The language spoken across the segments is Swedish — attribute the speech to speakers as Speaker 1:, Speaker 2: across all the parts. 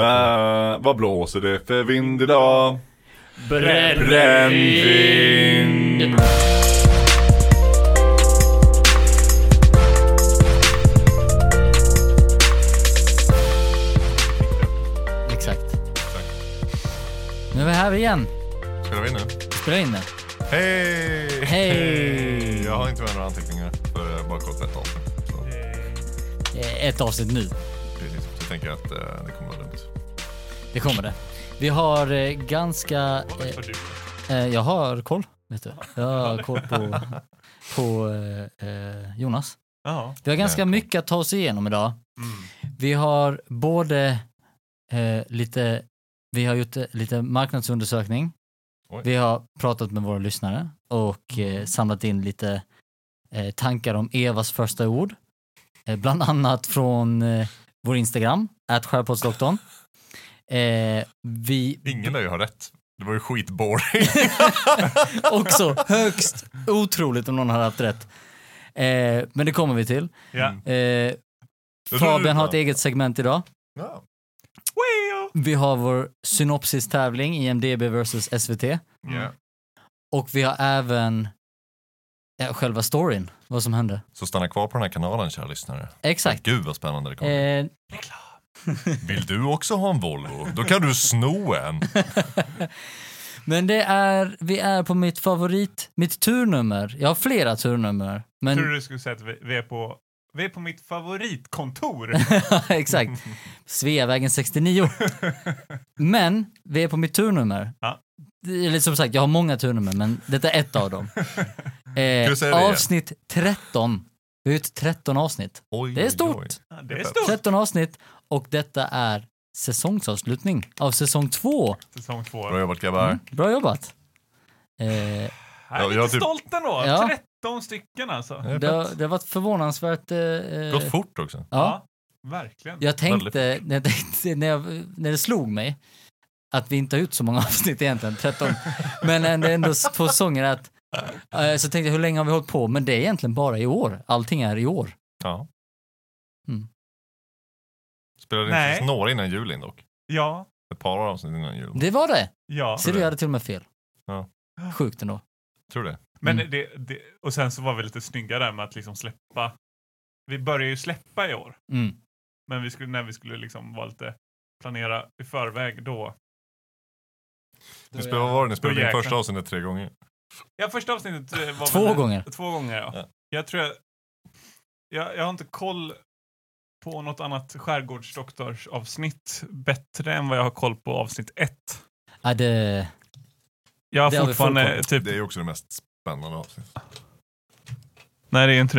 Speaker 1: Eh, vad blåser det för vind idag?
Speaker 2: Brännvin.
Speaker 3: Exakt. Nu är vi här igen.
Speaker 2: Spelar vi in nu?
Speaker 3: Spelar in det.
Speaker 2: Hej!
Speaker 3: Hej!
Speaker 2: Jag har inte med några anteckningar för eh, bara kort ett avsnitt. Så
Speaker 3: Eh, Ett avsnitt nu.
Speaker 2: precis, så tänker jag att eh, det kommer vara dumt.
Speaker 3: Det kommer det. Vi har eh, ganska... eh,
Speaker 4: För du.
Speaker 3: Eh, jag har koll, vet du. Jag har koll på, på eh, eh, Jonas.
Speaker 4: Ja.
Speaker 3: Vi har
Speaker 2: Eh,
Speaker 3: ganska mycket att ta oss igenom idag. Vi har både eh, lite, vi har gjort eh, lite marknadsundersökning.
Speaker 2: Oj.
Speaker 3: Vi har pratat med våra lyssnare och eh, samlat in lite eh, tankar om Evas första ord. Eh, bland annat från eh, vår Instagram, skärpoddsdoktorn. Eh, vi
Speaker 2: Ingen lär mm. ju ha rätt. Det var ju skitboring.
Speaker 3: också högst otroligt om någon har haft rätt. Eh, men det kommer vi till.
Speaker 4: Ja.
Speaker 3: Eh,
Speaker 2: Mm. tror
Speaker 3: Fabian
Speaker 2: du-
Speaker 3: har ett eget segment idag.
Speaker 2: ja.
Speaker 3: Vi har vår synopsis-tävling, E IMDB vs SVT.
Speaker 2: Ja.
Speaker 3: Och vi har även ja, själva storyn, vad som hände.
Speaker 2: Så stanna kvar på den här kanalen kära lyssnare.
Speaker 3: Exakt.
Speaker 2: Gud vad spännande det kommer.
Speaker 3: Eh,
Speaker 2: Vill du också ha en Volvo? Då kan du sno en.
Speaker 3: men det är, vi är på mitt favorit, mitt turnummer. Jag har flera turnummer. Men,
Speaker 4: Tror du du skulle säga att vi, vi är på vi är på mitt favoritkontor.
Speaker 3: exakt. Sveavägen 69. Men vi är på mitt turnummer.
Speaker 4: Ja.
Speaker 3: Det är lite som sagt, jag har många turnummer, men detta är ett av dem.
Speaker 2: du säga det
Speaker 3: Eh,
Speaker 2: igen?
Speaker 3: avsnitt 13. Vi har gjort 13 avsnitt.
Speaker 2: Oj,
Speaker 3: Det är
Speaker 2: oj,
Speaker 3: stort.
Speaker 2: oj.
Speaker 4: Ja, det är stort.
Speaker 3: 13 avsnitt och detta är säsongsavslutning av säsong 2.
Speaker 4: Säsong två.
Speaker 2: Bra jobbat grabbar.
Speaker 3: Bra jobbat. Eh,
Speaker 4: Jag är
Speaker 2: Ja,
Speaker 4: lite
Speaker 2: jag typ-
Speaker 4: stolt ändå.
Speaker 3: Ja.
Speaker 4: 13 stycken alltså. Ja.
Speaker 3: det, har, det har varit förvånansvärt... Eh,
Speaker 2: Det
Speaker 3: eh,
Speaker 2: gått fort också.
Speaker 3: ja.
Speaker 4: verkligen.
Speaker 3: Jag tänkte, när jag tänkte när, jag, när det slog mig, att vi inte har gjort så många avsnitt egentligen, 13. Men ändå- ändå två säsonger att, eh, så tänkte jag hur länge har vi hållit på? Men det är egentligen bara i år. Allting är i år.
Speaker 2: Ja.
Speaker 3: Mm.
Speaker 2: Spelade
Speaker 4: Nej.
Speaker 2: inte några innan julen dock.
Speaker 4: Ja,
Speaker 2: Ett par avsnitt innan julen.
Speaker 3: Det var det.
Speaker 4: ja.
Speaker 3: Så du jag hade till och med fel.
Speaker 2: Ja.
Speaker 3: Sjukt ändå.
Speaker 2: Tror det.
Speaker 4: Men
Speaker 3: Mm.
Speaker 4: det, det, och sen så var vi lite snygga där med att liksom släppa. Vi börjar ju släppa i år,
Speaker 3: Mm.
Speaker 4: men vi skulle, när vi skulle liksom vara lite planera i förväg då.
Speaker 2: Ni spelade, vad var det? Ni spelade in
Speaker 4: jäklar.
Speaker 2: första avsnittet tre gånger.
Speaker 4: Ja, första avsnittet eh, var
Speaker 3: Två
Speaker 4: väl-
Speaker 3: gånger.
Speaker 4: Två gånger ja.
Speaker 2: Ja.
Speaker 4: Jag tror jag, jag, jag har inte koll på något annat skärgårdsdoktorsavsnitt bättre än vad jag har koll på avsnitt ett.
Speaker 3: Ja, det,
Speaker 4: Jag har
Speaker 3: Det har vi
Speaker 4: fortfarande
Speaker 3: full koll
Speaker 4: typ,
Speaker 2: Det är ju också det mest spännande avsnittet.
Speaker 4: nej det är inte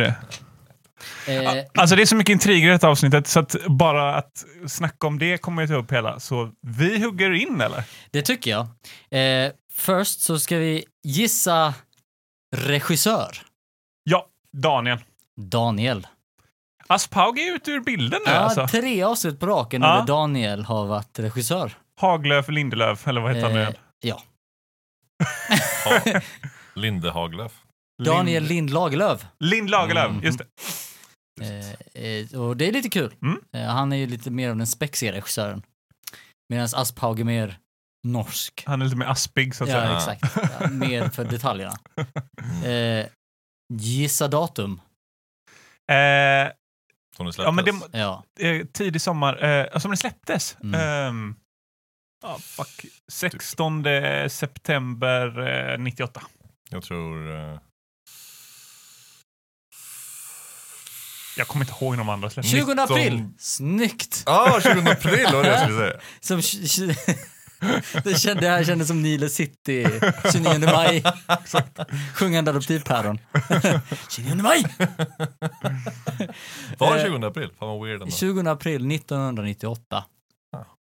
Speaker 4: det.
Speaker 3: eh,
Speaker 4: Alltså det är så mycket intriger i detta avsnittet så att bara att snacka om det kommer jag ta upp hela. Så vi hugger in eller?
Speaker 3: det tycker jag. Eh, först så ska vi gissa regissör.
Speaker 4: Ja, Daniel.
Speaker 3: Daniel.
Speaker 4: Aspaug är ute ur bilden nu
Speaker 3: Ja,
Speaker 4: alltså.
Speaker 3: Tre avsnitt på raken
Speaker 4: Ja.
Speaker 3: där Daniel har varit regissör.
Speaker 4: Haglöf Lindelöf, eller vad heter han nu
Speaker 3: Eh,
Speaker 4: igen?
Speaker 2: Ja. Lindehaglöf.
Speaker 3: Daniel Mm.
Speaker 4: Lind,
Speaker 3: Lind Lagerlöf.
Speaker 4: Lind Lagerlöf, just det.
Speaker 3: Eh, eh, och det är lite kul.
Speaker 4: Mm.
Speaker 3: Eh, han är ju lite mer av den spexiga regissören. Medan Asphag är mer norsk.
Speaker 4: Han är lite mer aspig så att säga.
Speaker 3: Ja, exakt. Ja, mer för detaljerna. Eh, gissa datum.
Speaker 4: Eh,
Speaker 2: Som det släpptes.
Speaker 4: ja, men det,
Speaker 3: Ja.
Speaker 4: eh, tidig sommar, eh, som det släpptes.
Speaker 3: Mm.
Speaker 4: Ehm, ja, fuck. 16 september eh, 98.
Speaker 2: Jag tror... eh,
Speaker 4: Jag kommer inte ihåg de andra släppen.
Speaker 3: 20 april!
Speaker 2: Nitton-
Speaker 3: Snyggt!
Speaker 2: Ah, 20 april var det jag skulle säga.
Speaker 3: Som, det, kände, det här kändes som Nile City 29 maj. Sjungande adoptivpäron. 29 maj!
Speaker 2: Var det 20 april? Fan vad weird ändå.
Speaker 3: 20 april 1998.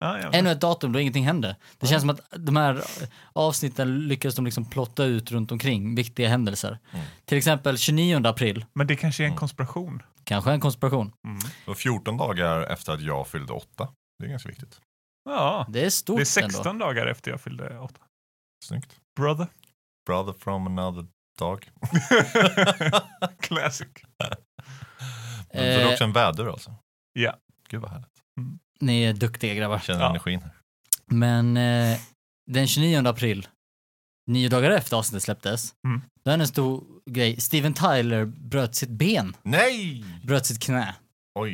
Speaker 4: Ja, ja.
Speaker 3: Ännu ett datum då ingenting hände. Det känns som att de här avsnitten lyckades de liksom plotta ut runt omkring viktiga händelser.
Speaker 4: Mm.
Speaker 3: Till exempel 29 april,
Speaker 4: Men det kanske är en konspiration. Mm.
Speaker 3: kanske en konspiration.
Speaker 2: Det var 14 dagar efter att jag fyllde åtta. Det är ganska viktigt.
Speaker 4: Ja,
Speaker 3: Det är stort
Speaker 4: det är
Speaker 3: ändå.
Speaker 4: 16 dagar efter jag fyllde 8.
Speaker 2: Snyggt.
Speaker 4: Brother.
Speaker 2: Brother from another dog.
Speaker 4: Classic.
Speaker 3: Eh,
Speaker 2: Men Så det är också en vädur alltså?
Speaker 4: Ja.
Speaker 2: Gud vad härligt.
Speaker 3: Ni är duktiga grabbar.
Speaker 2: Känner
Speaker 4: Ja.
Speaker 2: energin. här.
Speaker 3: Men eh, den 29 april, nio dagar efter avsnittet släpptes,
Speaker 4: Mm.
Speaker 3: då hände en stor grej. Steven Tyler bröt sitt ben,
Speaker 2: Nej!
Speaker 3: bröt sitt knä.
Speaker 2: Oj.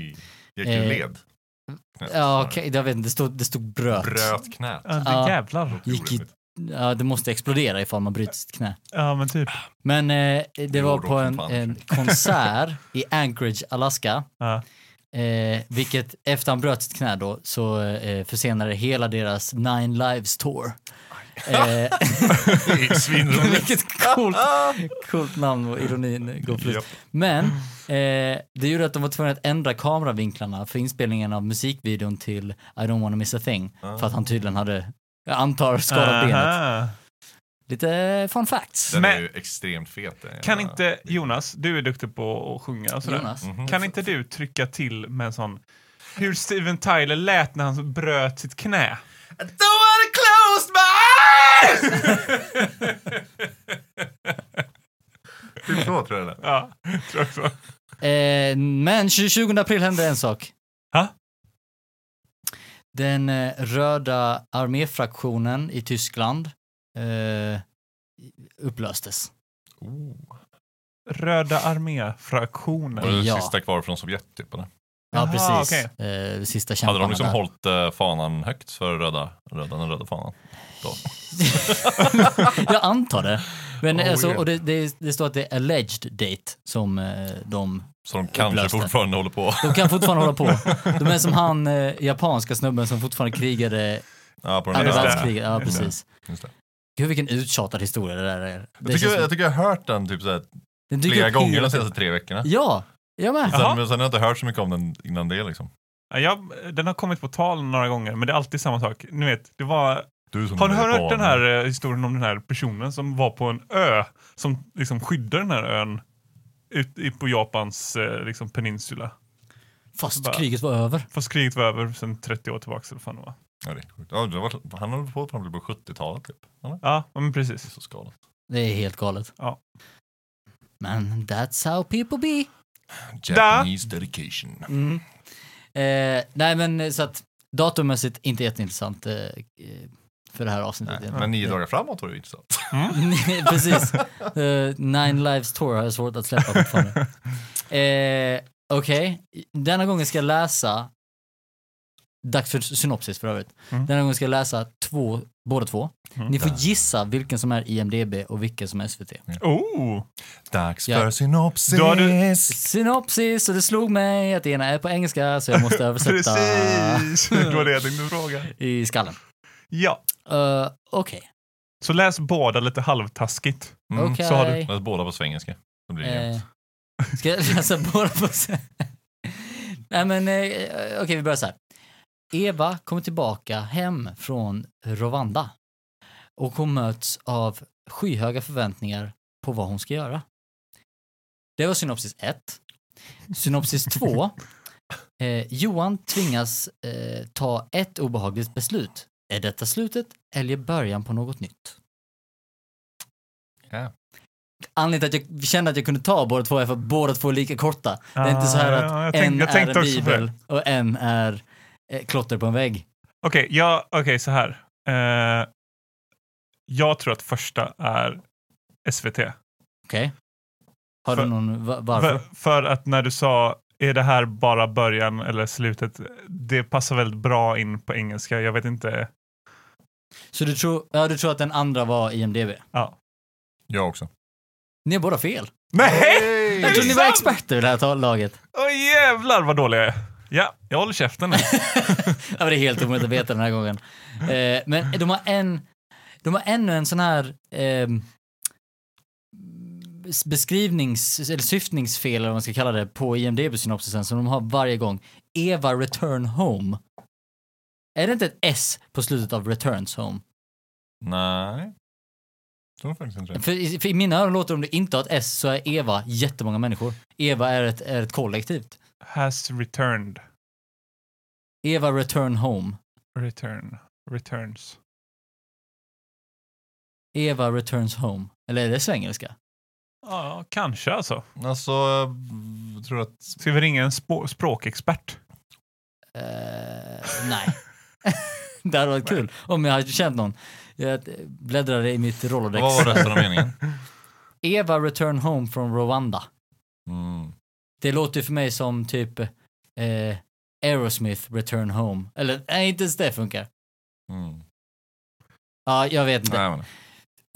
Speaker 2: Gick
Speaker 3: Eh,
Speaker 2: du led? Knät,
Speaker 3: Ja,
Speaker 2: snarare.
Speaker 3: okej, jag vet inte, det stod, det stod bröt.
Speaker 2: Bröt knät.
Speaker 4: Ja, det
Speaker 3: Ja.
Speaker 4: jävlar.
Speaker 3: Gick i, ja, det måste explodera ifall man bryter sitt knä.
Speaker 4: Ja, men typ.
Speaker 3: Men eh, det
Speaker 2: Jo,
Speaker 3: var
Speaker 2: då
Speaker 3: på
Speaker 2: som
Speaker 3: en,
Speaker 2: fan.
Speaker 3: en konsert i Anchorage, Alaska.
Speaker 4: Ja.
Speaker 3: Eh, vilket efter han bröt sitt knä då så eh, försenade hela deras Nine Lives Tour. Eh,
Speaker 2: Svinroligt.
Speaker 3: vilket coolt, coolt namn och ironin går förlust.
Speaker 2: Japp.
Speaker 3: Men eh, det gjorde att de var tvungna att ändra kameravinklarna för inspelningen av musikvideon till I don't wanna miss a thing. För att han tydligen hade, jag antar, skadat benet.
Speaker 4: Aha.
Speaker 3: Lite fun facts.
Speaker 2: Den är
Speaker 4: Ah, Men-
Speaker 2: ju extremt fet. den
Speaker 4: Kan
Speaker 2: jävla-
Speaker 4: inte Jonas, du är duktig på att sjunga och sådär.
Speaker 3: Jonas?
Speaker 2: Mhm.
Speaker 4: Kan inte du trycka till med en sån hur Steven Tyler lät när han bröt sitt knä?
Speaker 2: I don't wanna close my eyes! Typ så tror jag det lät.
Speaker 4: Ja, tror jag också.
Speaker 3: Eh, men 20 april hände en sak.
Speaker 4: Ha?
Speaker 3: Den eh, röda arméfraktionen i Tyskland eh, upplöstes.
Speaker 4: Röda arméfraktionen.
Speaker 2: Var det
Speaker 3: Oh. Ja.
Speaker 2: sista kvar från Sovjet typ eller?
Speaker 3: Ja,
Speaker 4: Jaha,
Speaker 3: precis. Eh, sista
Speaker 2: Hade
Speaker 3: kämparna
Speaker 2: de liksom
Speaker 3: där.
Speaker 2: hållit eh, fanan högt för röda, röda, den röda fanan?
Speaker 3: Jag antar det. Men
Speaker 2: Oh,
Speaker 3: alltså,
Speaker 2: yeah.
Speaker 3: och det, det, det står att det är alleged date som eh, de...
Speaker 2: Så de kanske
Speaker 3: Upplöste.
Speaker 2: fortfarande håller på.
Speaker 3: De kan fortfarande hålla på. De är som han eh, japanska snubben som fortfarande krigade
Speaker 2: Ja, på den
Speaker 3: andra
Speaker 4: Just det.
Speaker 2: där.
Speaker 3: världskriget. Ja,
Speaker 4: Just det.
Speaker 3: precis.
Speaker 2: Just det.
Speaker 3: Gud vilken uttjatad historia det där är.
Speaker 2: Jag,
Speaker 3: Det
Speaker 2: tycker,
Speaker 3: känns som-
Speaker 2: jag tycker jag har hört den typ såhär,
Speaker 3: den dyker
Speaker 2: flera
Speaker 3: upp hela
Speaker 2: gånger de
Speaker 3: tiden.
Speaker 2: senaste tre veckorna.
Speaker 3: Ja, jag med.
Speaker 4: Jaha.
Speaker 2: Sen, men sen har jag inte hört så mycket om den innan det liksom.
Speaker 4: Ja, jag, den har kommit på tal några gånger, men det är alltid samma sak. Ni vet, det var,
Speaker 2: Du som
Speaker 4: har ni
Speaker 2: är
Speaker 4: hört
Speaker 2: barn.
Speaker 4: den här eh, historien om den här personen som var på en ö som liksom skyddar den här ön ut, i- på Japans eh, liksom, peninsula?
Speaker 3: Fast
Speaker 4: Bara-
Speaker 3: kriget var över.
Speaker 4: Fast kriget var över sedan 30 år tillbaka. Eller vad fan det var.
Speaker 2: Ja, det är sjukt. Ja, det var, han höll på fram till på 70-talet typ. Eller?
Speaker 4: Ja, men
Speaker 2: Det är
Speaker 4: precis.
Speaker 2: så skadat.
Speaker 3: Det är helt galet.
Speaker 4: Ja.
Speaker 3: Men that's how people be.
Speaker 2: Japanese dedication.
Speaker 3: Mm. Eh, nej men eh, så att datummässigt inte jätteintressant eh, eh, för det här avsnittet.
Speaker 2: Nej,
Speaker 3: egentligen.
Speaker 2: men nio
Speaker 3: Eh,
Speaker 2: dagar framåt var det ju intressant.
Speaker 3: Precis. Eh, Nine Lives Tour har jag svårt att släppa fortfarande. Eh, Okej, denna gången ska jag läsa, dags för synopsis för övrigt.
Speaker 4: Mm.
Speaker 3: Denna gången ska jag läsa två, båda två.
Speaker 4: Mm.
Speaker 3: Ni får gissa vilken som är IMDB och vilken som är SVT.
Speaker 4: Oh!
Speaker 2: Dags
Speaker 3: Ja.
Speaker 2: för synopsis.
Speaker 4: Då har du-
Speaker 3: Synopsis, och det slog mig att det ena är på engelska så jag måste översätta
Speaker 4: Precis! Det var det jag tänkte fråga.
Speaker 3: i skallen.
Speaker 4: Ja,
Speaker 3: Eh, Okej.
Speaker 4: så läs båda lite halvtaskigt.
Speaker 2: Mm,
Speaker 3: Okej.
Speaker 2: Så har du. Läs båda på svengelska. Det blir jämnt.
Speaker 3: Eh, ska jag läsa båda på sen? Nej men eh, okej vi börjar så här. Eva kommer tillbaka hem från Rwanda och hon möts av skyhöga förväntningar på vad hon ska göra. Det var synopsis 1. Synopsis 2. Eh, Johan tvingas eh, ta ett obehagligt beslut. Är detta slutet eller början på något nytt?
Speaker 2: Ja.
Speaker 3: Anledningen till att jag kände att jag kunde ta båda två är för att båda två är lika korta. Det är inte så här
Speaker 4: Ah,
Speaker 3: att
Speaker 4: ja, jag tänkte-
Speaker 3: en
Speaker 4: jag tänkte
Speaker 3: är en
Speaker 4: också på det.
Speaker 3: bibel och en är eh, klotter på en vägg.
Speaker 4: Okej, ja, okej, så här. Eh, jag tror att första är SVT.
Speaker 3: Okej? Har du
Speaker 4: För-
Speaker 3: någon, va- varför?
Speaker 4: För, för att när du sa är det här bara början eller slutet? Det passar väldigt bra in på engelska. Jag vet inte.
Speaker 3: Så du tror, ja, du tror att den andra var IMDB?
Speaker 4: Ja.
Speaker 2: Jag också.
Speaker 3: Ni är båda fel.
Speaker 4: Nej!
Speaker 3: Jag trodde ni var
Speaker 4: sant?
Speaker 3: experter i det här tal- laget.
Speaker 4: Åh jävlar vad dålig jag är. Ja, jag håller käften nu.
Speaker 3: Ja, men det är helt omöjligt att veta den här gången. Eh, men de har en, de har ännu en sån här ehm, bes- beskrivnings eller syftningsfel eller vad man ska kalla det på IMDB-synopsisen som de har varje gång. Eva Return Home. Är det inte ett S på slutet av Returns Home?
Speaker 2: Nej. Jag tror faktiskt inte det.
Speaker 3: För i, för i mina öron låter det om det inte har ett S så är Eva jättemånga människor. Eva är ett, är ett kollektivt.
Speaker 4: Has returned.
Speaker 3: Eva Return Home.
Speaker 4: Return. Returns.
Speaker 3: Eva Returns Home. Eller är det svengelska?
Speaker 4: Ja, kanske alltså.
Speaker 2: Alltså, jag tror att...
Speaker 4: Ska vi ringa en spå- språkexpert?
Speaker 3: Eh, nej. det hade varit kul om jag hade känt någon. Jag bläddrade i mitt Rolodex.
Speaker 2: Vad var resten av meningen?
Speaker 3: Eva Return Home från Rwanda.
Speaker 2: Mm.
Speaker 3: Det låter ju för mig som typ eh, Aerosmith Return Home. Eller nej, inte ens det funkar.
Speaker 2: Mm.
Speaker 3: Ja, jag vet inte.
Speaker 2: Nej, men.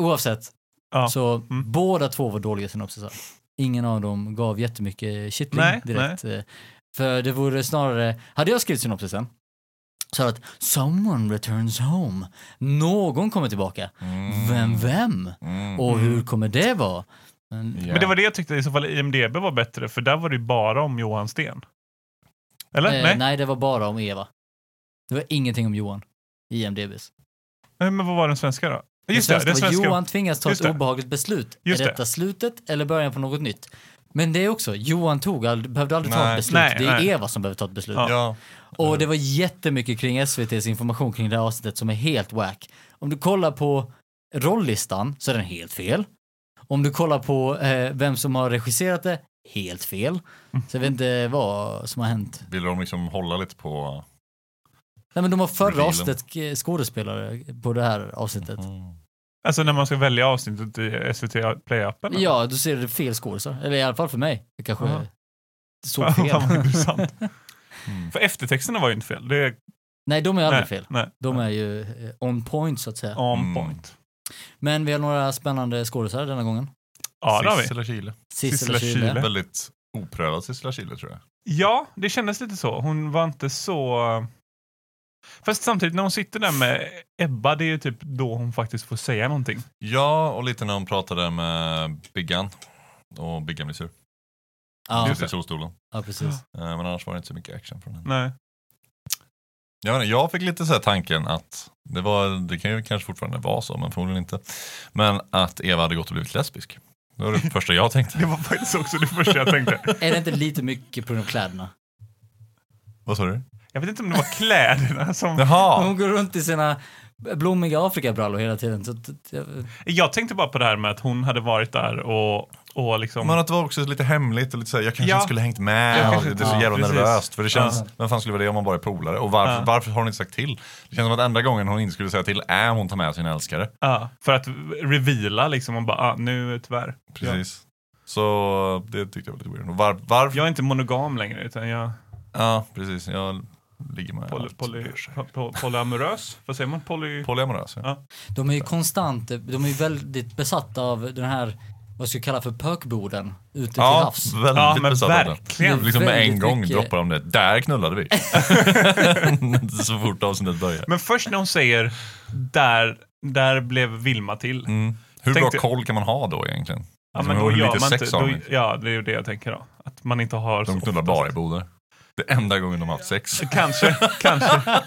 Speaker 3: Oavsett.
Speaker 4: Ja.
Speaker 3: Så
Speaker 4: Mm.
Speaker 3: båda två var dåliga synopsisar. Ingen av dem gav jättemycket kittling
Speaker 4: Nej,
Speaker 3: direkt. eh, För det vore snarare, hade jag skrivit synopsisen så hade det varit “Someone returns home”. Någon kommer tillbaka.
Speaker 2: Mm.
Speaker 3: Vem, vem?
Speaker 2: Mm.
Speaker 3: Och hur kommer det vara? Men,
Speaker 2: Ja.
Speaker 4: Men det var det jag tyckte i så fall IMDB var bättre, för där var det ju bara om Johan Sten. Eller?
Speaker 3: eh,
Speaker 4: nej.
Speaker 3: nej, det var bara om Eva. Det var ingenting om Johan i IMDBs.
Speaker 4: nej. Men vad var den svenska då? Just det, den
Speaker 3: var
Speaker 4: svenska.
Speaker 3: Johan tvingas ta
Speaker 4: Just
Speaker 3: ett
Speaker 4: det.
Speaker 3: obehagligt beslut.
Speaker 4: Just
Speaker 3: är
Speaker 4: det.
Speaker 3: detta slutet eller början på något nytt? Men det är också, Johan tog aldrig, behövde aldrig ta
Speaker 2: Nej.
Speaker 3: ett beslut.
Speaker 4: Nej,
Speaker 3: det är
Speaker 4: nej.
Speaker 3: Eva som behöver ta ett beslut.
Speaker 4: Ja.
Speaker 2: Ja.
Speaker 3: Och det var jättemycket kring SVTs information kring det här avsnittet som är helt whack. Om du kollar på rolllistan så är den helt fel. Om du kollar på eh, vem som har regisserat det, helt fel.
Speaker 4: Mm.
Speaker 3: Så jag vet inte vad som har hänt.
Speaker 2: Vill de liksom hålla lite på...
Speaker 3: Nej men de har förra
Speaker 2: Revealen.
Speaker 3: avsnittet sk- skådespelare på det här avsnittet.
Speaker 2: Mm.
Speaker 4: Alltså när man ska välja avsnittet i SVT Play-appen? eller?
Speaker 3: Ja, du ser det fel skådisar. Eller i alla fall för mig. Jag kanske
Speaker 4: Aha.
Speaker 3: såg fel.
Speaker 4: Fan, vad intressant.
Speaker 2: Mm.
Speaker 4: För eftertexterna var ju inte fel. Det är
Speaker 3: Nej, de är aldrig
Speaker 4: nej,
Speaker 3: fel.
Speaker 4: Nej.
Speaker 3: De är ju eh, on point så att säga.
Speaker 4: On
Speaker 2: Mm.
Speaker 4: point.
Speaker 3: Men vi har några spännande skådisar denna gången.
Speaker 4: Ja, det har vi.
Speaker 2: Sissela Kyle.
Speaker 3: Sissela
Speaker 4: Sissela
Speaker 3: Kyle.
Speaker 4: Kyle.
Speaker 2: Väldigt oprövad Sissela Kyle tror jag.
Speaker 4: Ja, det kändes lite så. Hon var inte så... Fast samtidigt när hon sitter där med Ebba, det är ju typ då hon faktiskt får säga någonting.
Speaker 2: Ja, och lite när hon pratade med Biggan. Och Biggan blir sur.
Speaker 3: Ja,
Speaker 2: Just I solstolen.
Speaker 3: ja, precis.
Speaker 2: Eh, Men annars var det inte så mycket action från henne.
Speaker 4: Nej.
Speaker 2: Jag, vet inte, jag fick lite så här tanken att, det, var, det kan ju kanske fortfarande vara så, men förmodligen inte. Men att Eva hade gått och blivit lesbisk. Det var det första jag tänkte.
Speaker 4: Det var faktiskt också det första jag tänkte.
Speaker 3: Är det inte lite mycket på grund av kläderna?
Speaker 2: Vad sa du?
Speaker 4: Jag vet inte om det var kläderna som...
Speaker 2: Jaha!
Speaker 3: Hon går runt i sina blommiga afrikabrallor hela tiden. Så, att- att- jag-
Speaker 4: Jag tänkte bara på det här med att hon hade varit där och, och liksom...
Speaker 2: Men att det var också lite hemligt och lite så här, jag kanske
Speaker 4: Ja.
Speaker 2: inte skulle hängt med.
Speaker 4: Jag
Speaker 2: och
Speaker 4: kanske
Speaker 2: det är
Speaker 4: inte-
Speaker 2: så
Speaker 4: ja,
Speaker 2: jävla
Speaker 4: precis.
Speaker 2: nervöst. För det känns,
Speaker 3: Ja.
Speaker 2: vem fan skulle vara det om man bara är polare? Och varför,
Speaker 4: Ja.
Speaker 2: varför har hon inte sagt till? Det känns som att enda gången hon inte skulle säga till är om hon tar med sin älskare.
Speaker 4: Ja, för att reveala liksom och bara, ah, nu tyvärr.
Speaker 2: Precis. Så det tyckte jag var lite weird. Och Var, varför?
Speaker 4: Jag
Speaker 2: Ja.
Speaker 4: är inte monogam längre utan jag
Speaker 2: precis. Jag ligger med
Speaker 4: poly,
Speaker 2: allt.
Speaker 4: poly, po- polyamorös. Vad säger man? Poly...
Speaker 2: Polyamorös. Ja.
Speaker 4: Ja.
Speaker 3: De är ju konstant, de är ju väldigt besatta av den här, vad ska jag kalla för pökboden ute till
Speaker 2: Ja,
Speaker 3: havs.
Speaker 2: väldigt
Speaker 4: Ja, men
Speaker 2: besatt av den.
Speaker 4: verkligen.
Speaker 2: Liksom med en
Speaker 3: Väldigt
Speaker 2: gång
Speaker 3: mycket.
Speaker 2: droppar de det. Där knullade vi. så fort avsnittet börjar.
Speaker 4: Men först när hon säger, där, där blev Vilma till.
Speaker 2: Mm. Hur
Speaker 4: Tänkte-
Speaker 2: bra koll kan man ha då egentligen?
Speaker 4: Ja,
Speaker 2: Alltså,
Speaker 4: men
Speaker 2: man
Speaker 4: då
Speaker 2: gjorde
Speaker 4: gör
Speaker 2: lite
Speaker 4: man inte,
Speaker 2: sex av
Speaker 4: då,
Speaker 2: mig.
Speaker 4: Ja, det är ju det jag tänker då. Att man inte har
Speaker 2: De knullar bara i Boda. Det är enda gången de har haft sex.
Speaker 4: Kanske, kanske.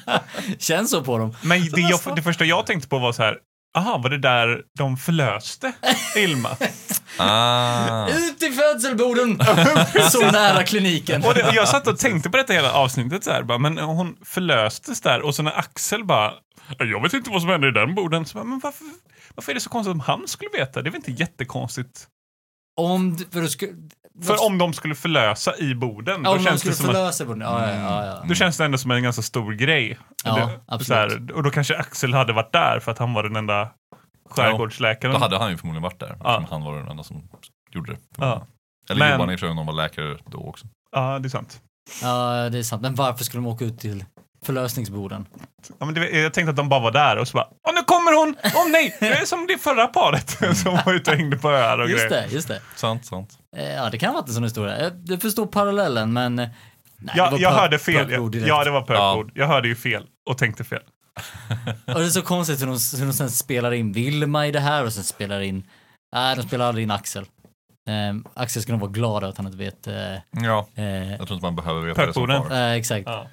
Speaker 3: Känns så på dem.
Speaker 4: Men det, jag, det första jag tänkte på var så här, aha, var det där de förlöste Vilma?
Speaker 2: Ah.
Speaker 3: Ut i födselboden! så nära kliniken.
Speaker 4: Och det, jag satt och tänkte på detta hela avsnittet så här, bara, men hon förlöstes där och så när Axel bara, jag vet inte vad som hände i den borden, så bara, men varför, varför är det så konstigt om han skulle veta? Det är väl inte jättekonstigt?
Speaker 3: Om, du- för du skulle...
Speaker 4: För om de skulle förlösa i borden,
Speaker 3: Ja,
Speaker 4: då,
Speaker 3: om de
Speaker 4: känns
Speaker 3: skulle
Speaker 4: det som att, Mm.
Speaker 3: förlösa boden. Ja, ja, ja. ja.
Speaker 4: då känns det ändå som en ganska stor grej.
Speaker 3: Ja,
Speaker 4: Eller,
Speaker 3: absolut.
Speaker 4: så här, och då kanske Axel hade varit där för att han var den enda skärgårdsläkaren.
Speaker 2: Då hade han ju förmodligen varit där. Eftersom
Speaker 4: Ja.
Speaker 2: han var den enda som gjorde det.
Speaker 4: ja,
Speaker 2: Eller
Speaker 4: Men-
Speaker 2: Johan i och för sig, om de var läkare då också.
Speaker 4: ja, det är sant.
Speaker 3: ja, det är sant. Men varför skulle de åka ut till förlösningsboden?
Speaker 4: Ja, men det, jag tänkte att de bara var där och så bara Åh, nu kommer hon! Åh nej! Det är som det förra paret som var ute och hängde på öar och
Speaker 3: Just
Speaker 4: grejer.
Speaker 3: det, just det.
Speaker 2: Sant, sant.
Speaker 3: Eh, Ja, det kan vara en sån historia. Jag- Jag förstår parallellen, men... eh, Nej, det
Speaker 4: Ja,
Speaker 3: var
Speaker 4: jag
Speaker 3: pö-
Speaker 4: hörde fel.
Speaker 3: pökblod direkt.
Speaker 4: Ja, det var pökord. Jag hörde ju fel och tänkte fel.
Speaker 3: Och det är så konstigt hur de, hur de sen spelar in Vilma i det här och sen spelar in... Nej, de spelar aldrig in Axel. Ehm, Axel ska nog vara glad att han inte vet. Eh,
Speaker 2: Ja,
Speaker 3: eh,
Speaker 2: jag tror inte man behöver veta det som
Speaker 4: Pökorden.
Speaker 2: far.
Speaker 3: eh, exakt.
Speaker 4: Ja,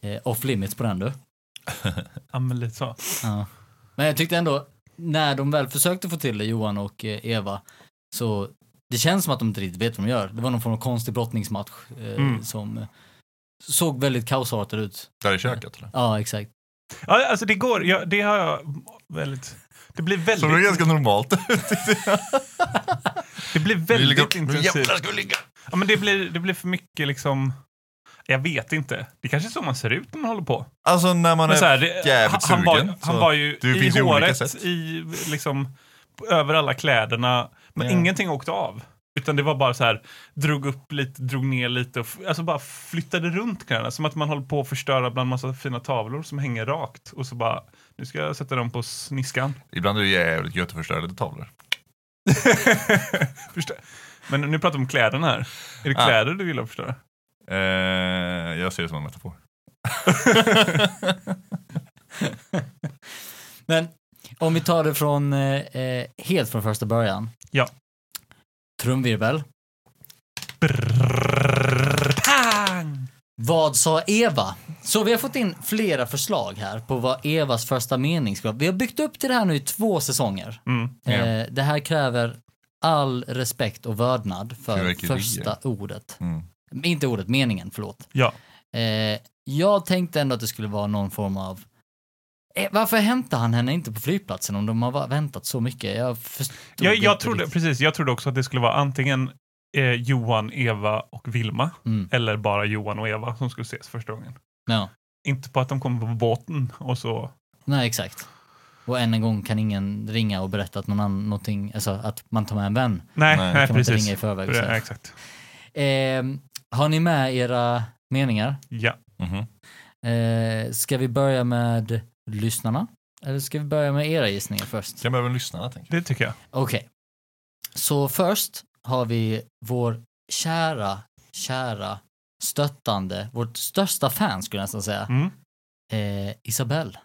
Speaker 3: Eh, off limits på den du.
Speaker 4: ja men lite så.
Speaker 3: Ja. Men jag tyckte ändå, när de väl försökte få till det, Johan och eh, Eva, så det känns som att de inte riktigt vet vad de gör. Det var någon form av konstig brottningsmatch eh,
Speaker 4: Mm.
Speaker 3: som eh, såg väldigt kaosartad ut.
Speaker 2: Där i köket eller?
Speaker 3: Ja, exakt.
Speaker 4: Ja, alltså det går, ja, det har jag väldigt... Det blir
Speaker 2: Så det är
Speaker 4: väldigt,
Speaker 2: ganska normalt.
Speaker 4: det
Speaker 2: Vi
Speaker 4: blir
Speaker 2: ligger-
Speaker 4: väldigt
Speaker 2: Jävlar
Speaker 4: intensivt.
Speaker 2: ska vi ligga!
Speaker 4: Ja, men det blir, det blir för mycket liksom... Jag vet inte. Det kanske är så man ser ut när man håller på.
Speaker 2: Alltså när man
Speaker 4: Men
Speaker 2: är
Speaker 4: så här, det, han,
Speaker 2: jävligt
Speaker 4: han, var,
Speaker 2: sugen.
Speaker 4: han
Speaker 2: så-
Speaker 4: var ju
Speaker 2: det finns
Speaker 4: i
Speaker 2: ju olika
Speaker 4: håret,
Speaker 2: sätt.
Speaker 4: i, liksom, över alla kläderna, men
Speaker 2: Ja.
Speaker 4: ingenting åkte av. Utan det var bara så här, drog upp lite, drog ner lite och f- alltså bara flyttade runt kläderna. Som att man håller på att förstöra bland massa fina tavlor som hänger rakt. Och så bara, nu ska jag sätta dem på sniskan.
Speaker 2: Ibland är det jävligt gött att förstöra lite tavlor.
Speaker 4: Förstö- Men nu pratar vi om kläderna här. Är det
Speaker 2: Ah.
Speaker 4: kläder du vill förstöra?
Speaker 2: Eh, jag ser det som en metafor.
Speaker 3: Men om vi tar det från, eh, eh, helt från första början.
Speaker 4: Ja.
Speaker 3: Trumvirvel.
Speaker 4: Pang!
Speaker 3: Vad sa Eva? Så vi har fått in flera förslag här på vad Evas första mening ska vara. Vi har byggt upp till det här nu i två säsonger.
Speaker 4: Mm.
Speaker 3: Eh, det här kräver all respekt och vördnad för
Speaker 2: Fyrverkerier.
Speaker 3: första ordet.
Speaker 2: Mm.
Speaker 3: Inte ordet, meningen, förlåt.
Speaker 4: Ja.
Speaker 3: Eh, jag tänkte ändå att det skulle vara någon form av... Eh, varför hämtar han henne inte på flygplatsen om de har va- väntat så mycket? Jag förstod
Speaker 4: Jag, jag,
Speaker 3: inte
Speaker 4: trodde,
Speaker 3: riktigt.
Speaker 4: precis, jag trodde också att det skulle vara antingen eh, Johan, Eva och Vilma.
Speaker 3: Mm.
Speaker 4: Eller bara Johan och Eva som skulle ses första gången.
Speaker 3: Ja.
Speaker 4: Inte på att de kommer på båten och så.
Speaker 3: Nej, exakt. Och än en gång kan ingen ringa och berätta att någon annan, någonting, alltså att man tar med en vän.
Speaker 4: Nej,
Speaker 2: Nej,
Speaker 4: nej,
Speaker 3: kan man inte
Speaker 4: precis.
Speaker 3: ringa i förväg och
Speaker 4: Pre-
Speaker 3: säga.
Speaker 4: exakt.
Speaker 3: Ehm, har ni med era meningar?
Speaker 4: Ja.
Speaker 2: Mhm.
Speaker 3: Eh, ska vi börja med lyssnarna? Eller ska vi börja med era gissningar först?
Speaker 2: Kan behöva lyssna, tänker
Speaker 4: Det tycker jag.
Speaker 3: Okej. Så först har vi vår kära, kära stöttande, vårt största fan skulle jag nästan säga,
Speaker 4: Mm.
Speaker 3: eh, Isabelle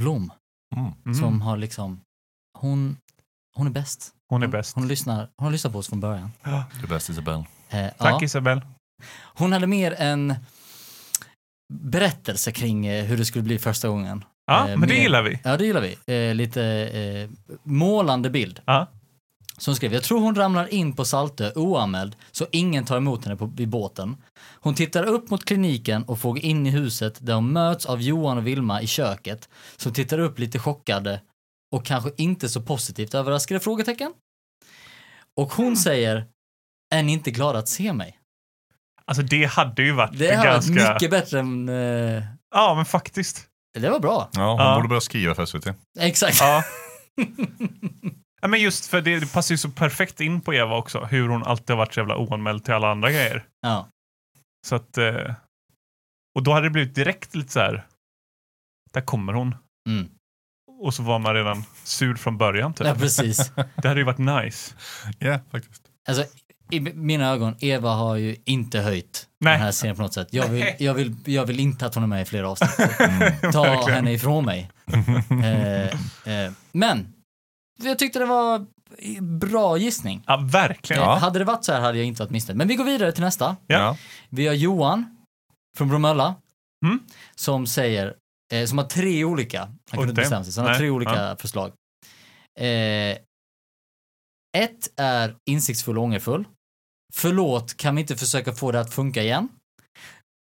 Speaker 3: Blom,
Speaker 2: Mm.
Speaker 4: Mm.
Speaker 3: som har liksom, hon, hon är bäst.
Speaker 4: Hon är bäst.
Speaker 3: Hon, hon, lyssnar, hon har lyssnat på oss från början.
Speaker 2: jag. Du är bäst Isabelle.
Speaker 3: Eh,
Speaker 4: Tack
Speaker 3: ja.
Speaker 4: Isabel.
Speaker 3: Hon hade mer en berättelse kring eh, hur det skulle bli första gången.
Speaker 4: Ja,
Speaker 3: Eh,
Speaker 4: men det
Speaker 3: mer-
Speaker 4: gillar vi.
Speaker 3: Ja, det gillar vi. Eh, lite eh, målande bild.
Speaker 4: Ja.
Speaker 3: Som skrev, jag tror hon ramlar in på Saltö oanmäld så ingen tar emot henne på, vid båten. Hon tittar upp mot kliniken och får gå in i huset där hon möts av Johan och Vilma i köket som tittar upp lite chockade och kanske inte så positivt överraskade frågetecken. Och
Speaker 4: Mm.
Speaker 3: hon säger, är ni inte glada att se mig?
Speaker 4: Alltså det hade ju varit
Speaker 3: Det här
Speaker 4: ganska...
Speaker 3: var mycket bättre än... Eh,
Speaker 4: Ja, men faktiskt.
Speaker 3: det var bra.
Speaker 2: Ja, hon
Speaker 4: Ja.
Speaker 2: borde börja skriva för SVT.
Speaker 3: Exakt.
Speaker 4: Ja. ja, men just för det, det passar ju så perfekt in på Eva också. Hur hon alltid har varit så jävla oanmäld till alla andra grejer.
Speaker 3: Ja.
Speaker 4: Så att, eh, och då hade det blivit direkt lite så här, där kommer hon.
Speaker 3: Mm.
Speaker 4: Och så var man redan sur från början typ.
Speaker 3: ja, precis.
Speaker 4: Det hade ju varit nice.
Speaker 2: Ja, faktiskt.
Speaker 3: Alltså, i m- mina ögon, Eva har ju inte höjt
Speaker 4: Nej.
Speaker 3: den här serien på något sätt. Jag vill,
Speaker 4: Nej. Mm.
Speaker 3: jag vill, jag vill inte att hon är med i flera avsnitt. Ta
Speaker 4: Verkligen.
Speaker 3: henne ifrån mig. eh, eh, men, jag tyckte det var bra gissning.
Speaker 4: Ja, verkligen.
Speaker 2: Ja.
Speaker 3: Eh, Hade det varit så här hade jag inte varit missnöjd. Men vi går vidare till nästa.
Speaker 4: Ja.
Speaker 3: Vi har Johan från Bromölla
Speaker 4: Mm.
Speaker 3: som säger, eh, som har tre olika, han kunde inte
Speaker 4: damn.
Speaker 3: bestämma sig, så han har
Speaker 4: Nej,
Speaker 3: tre olika förslag. Eh, ett är insiktsfull och ångerfull. Förlåt, kan vi inte försöka få det att funka igen?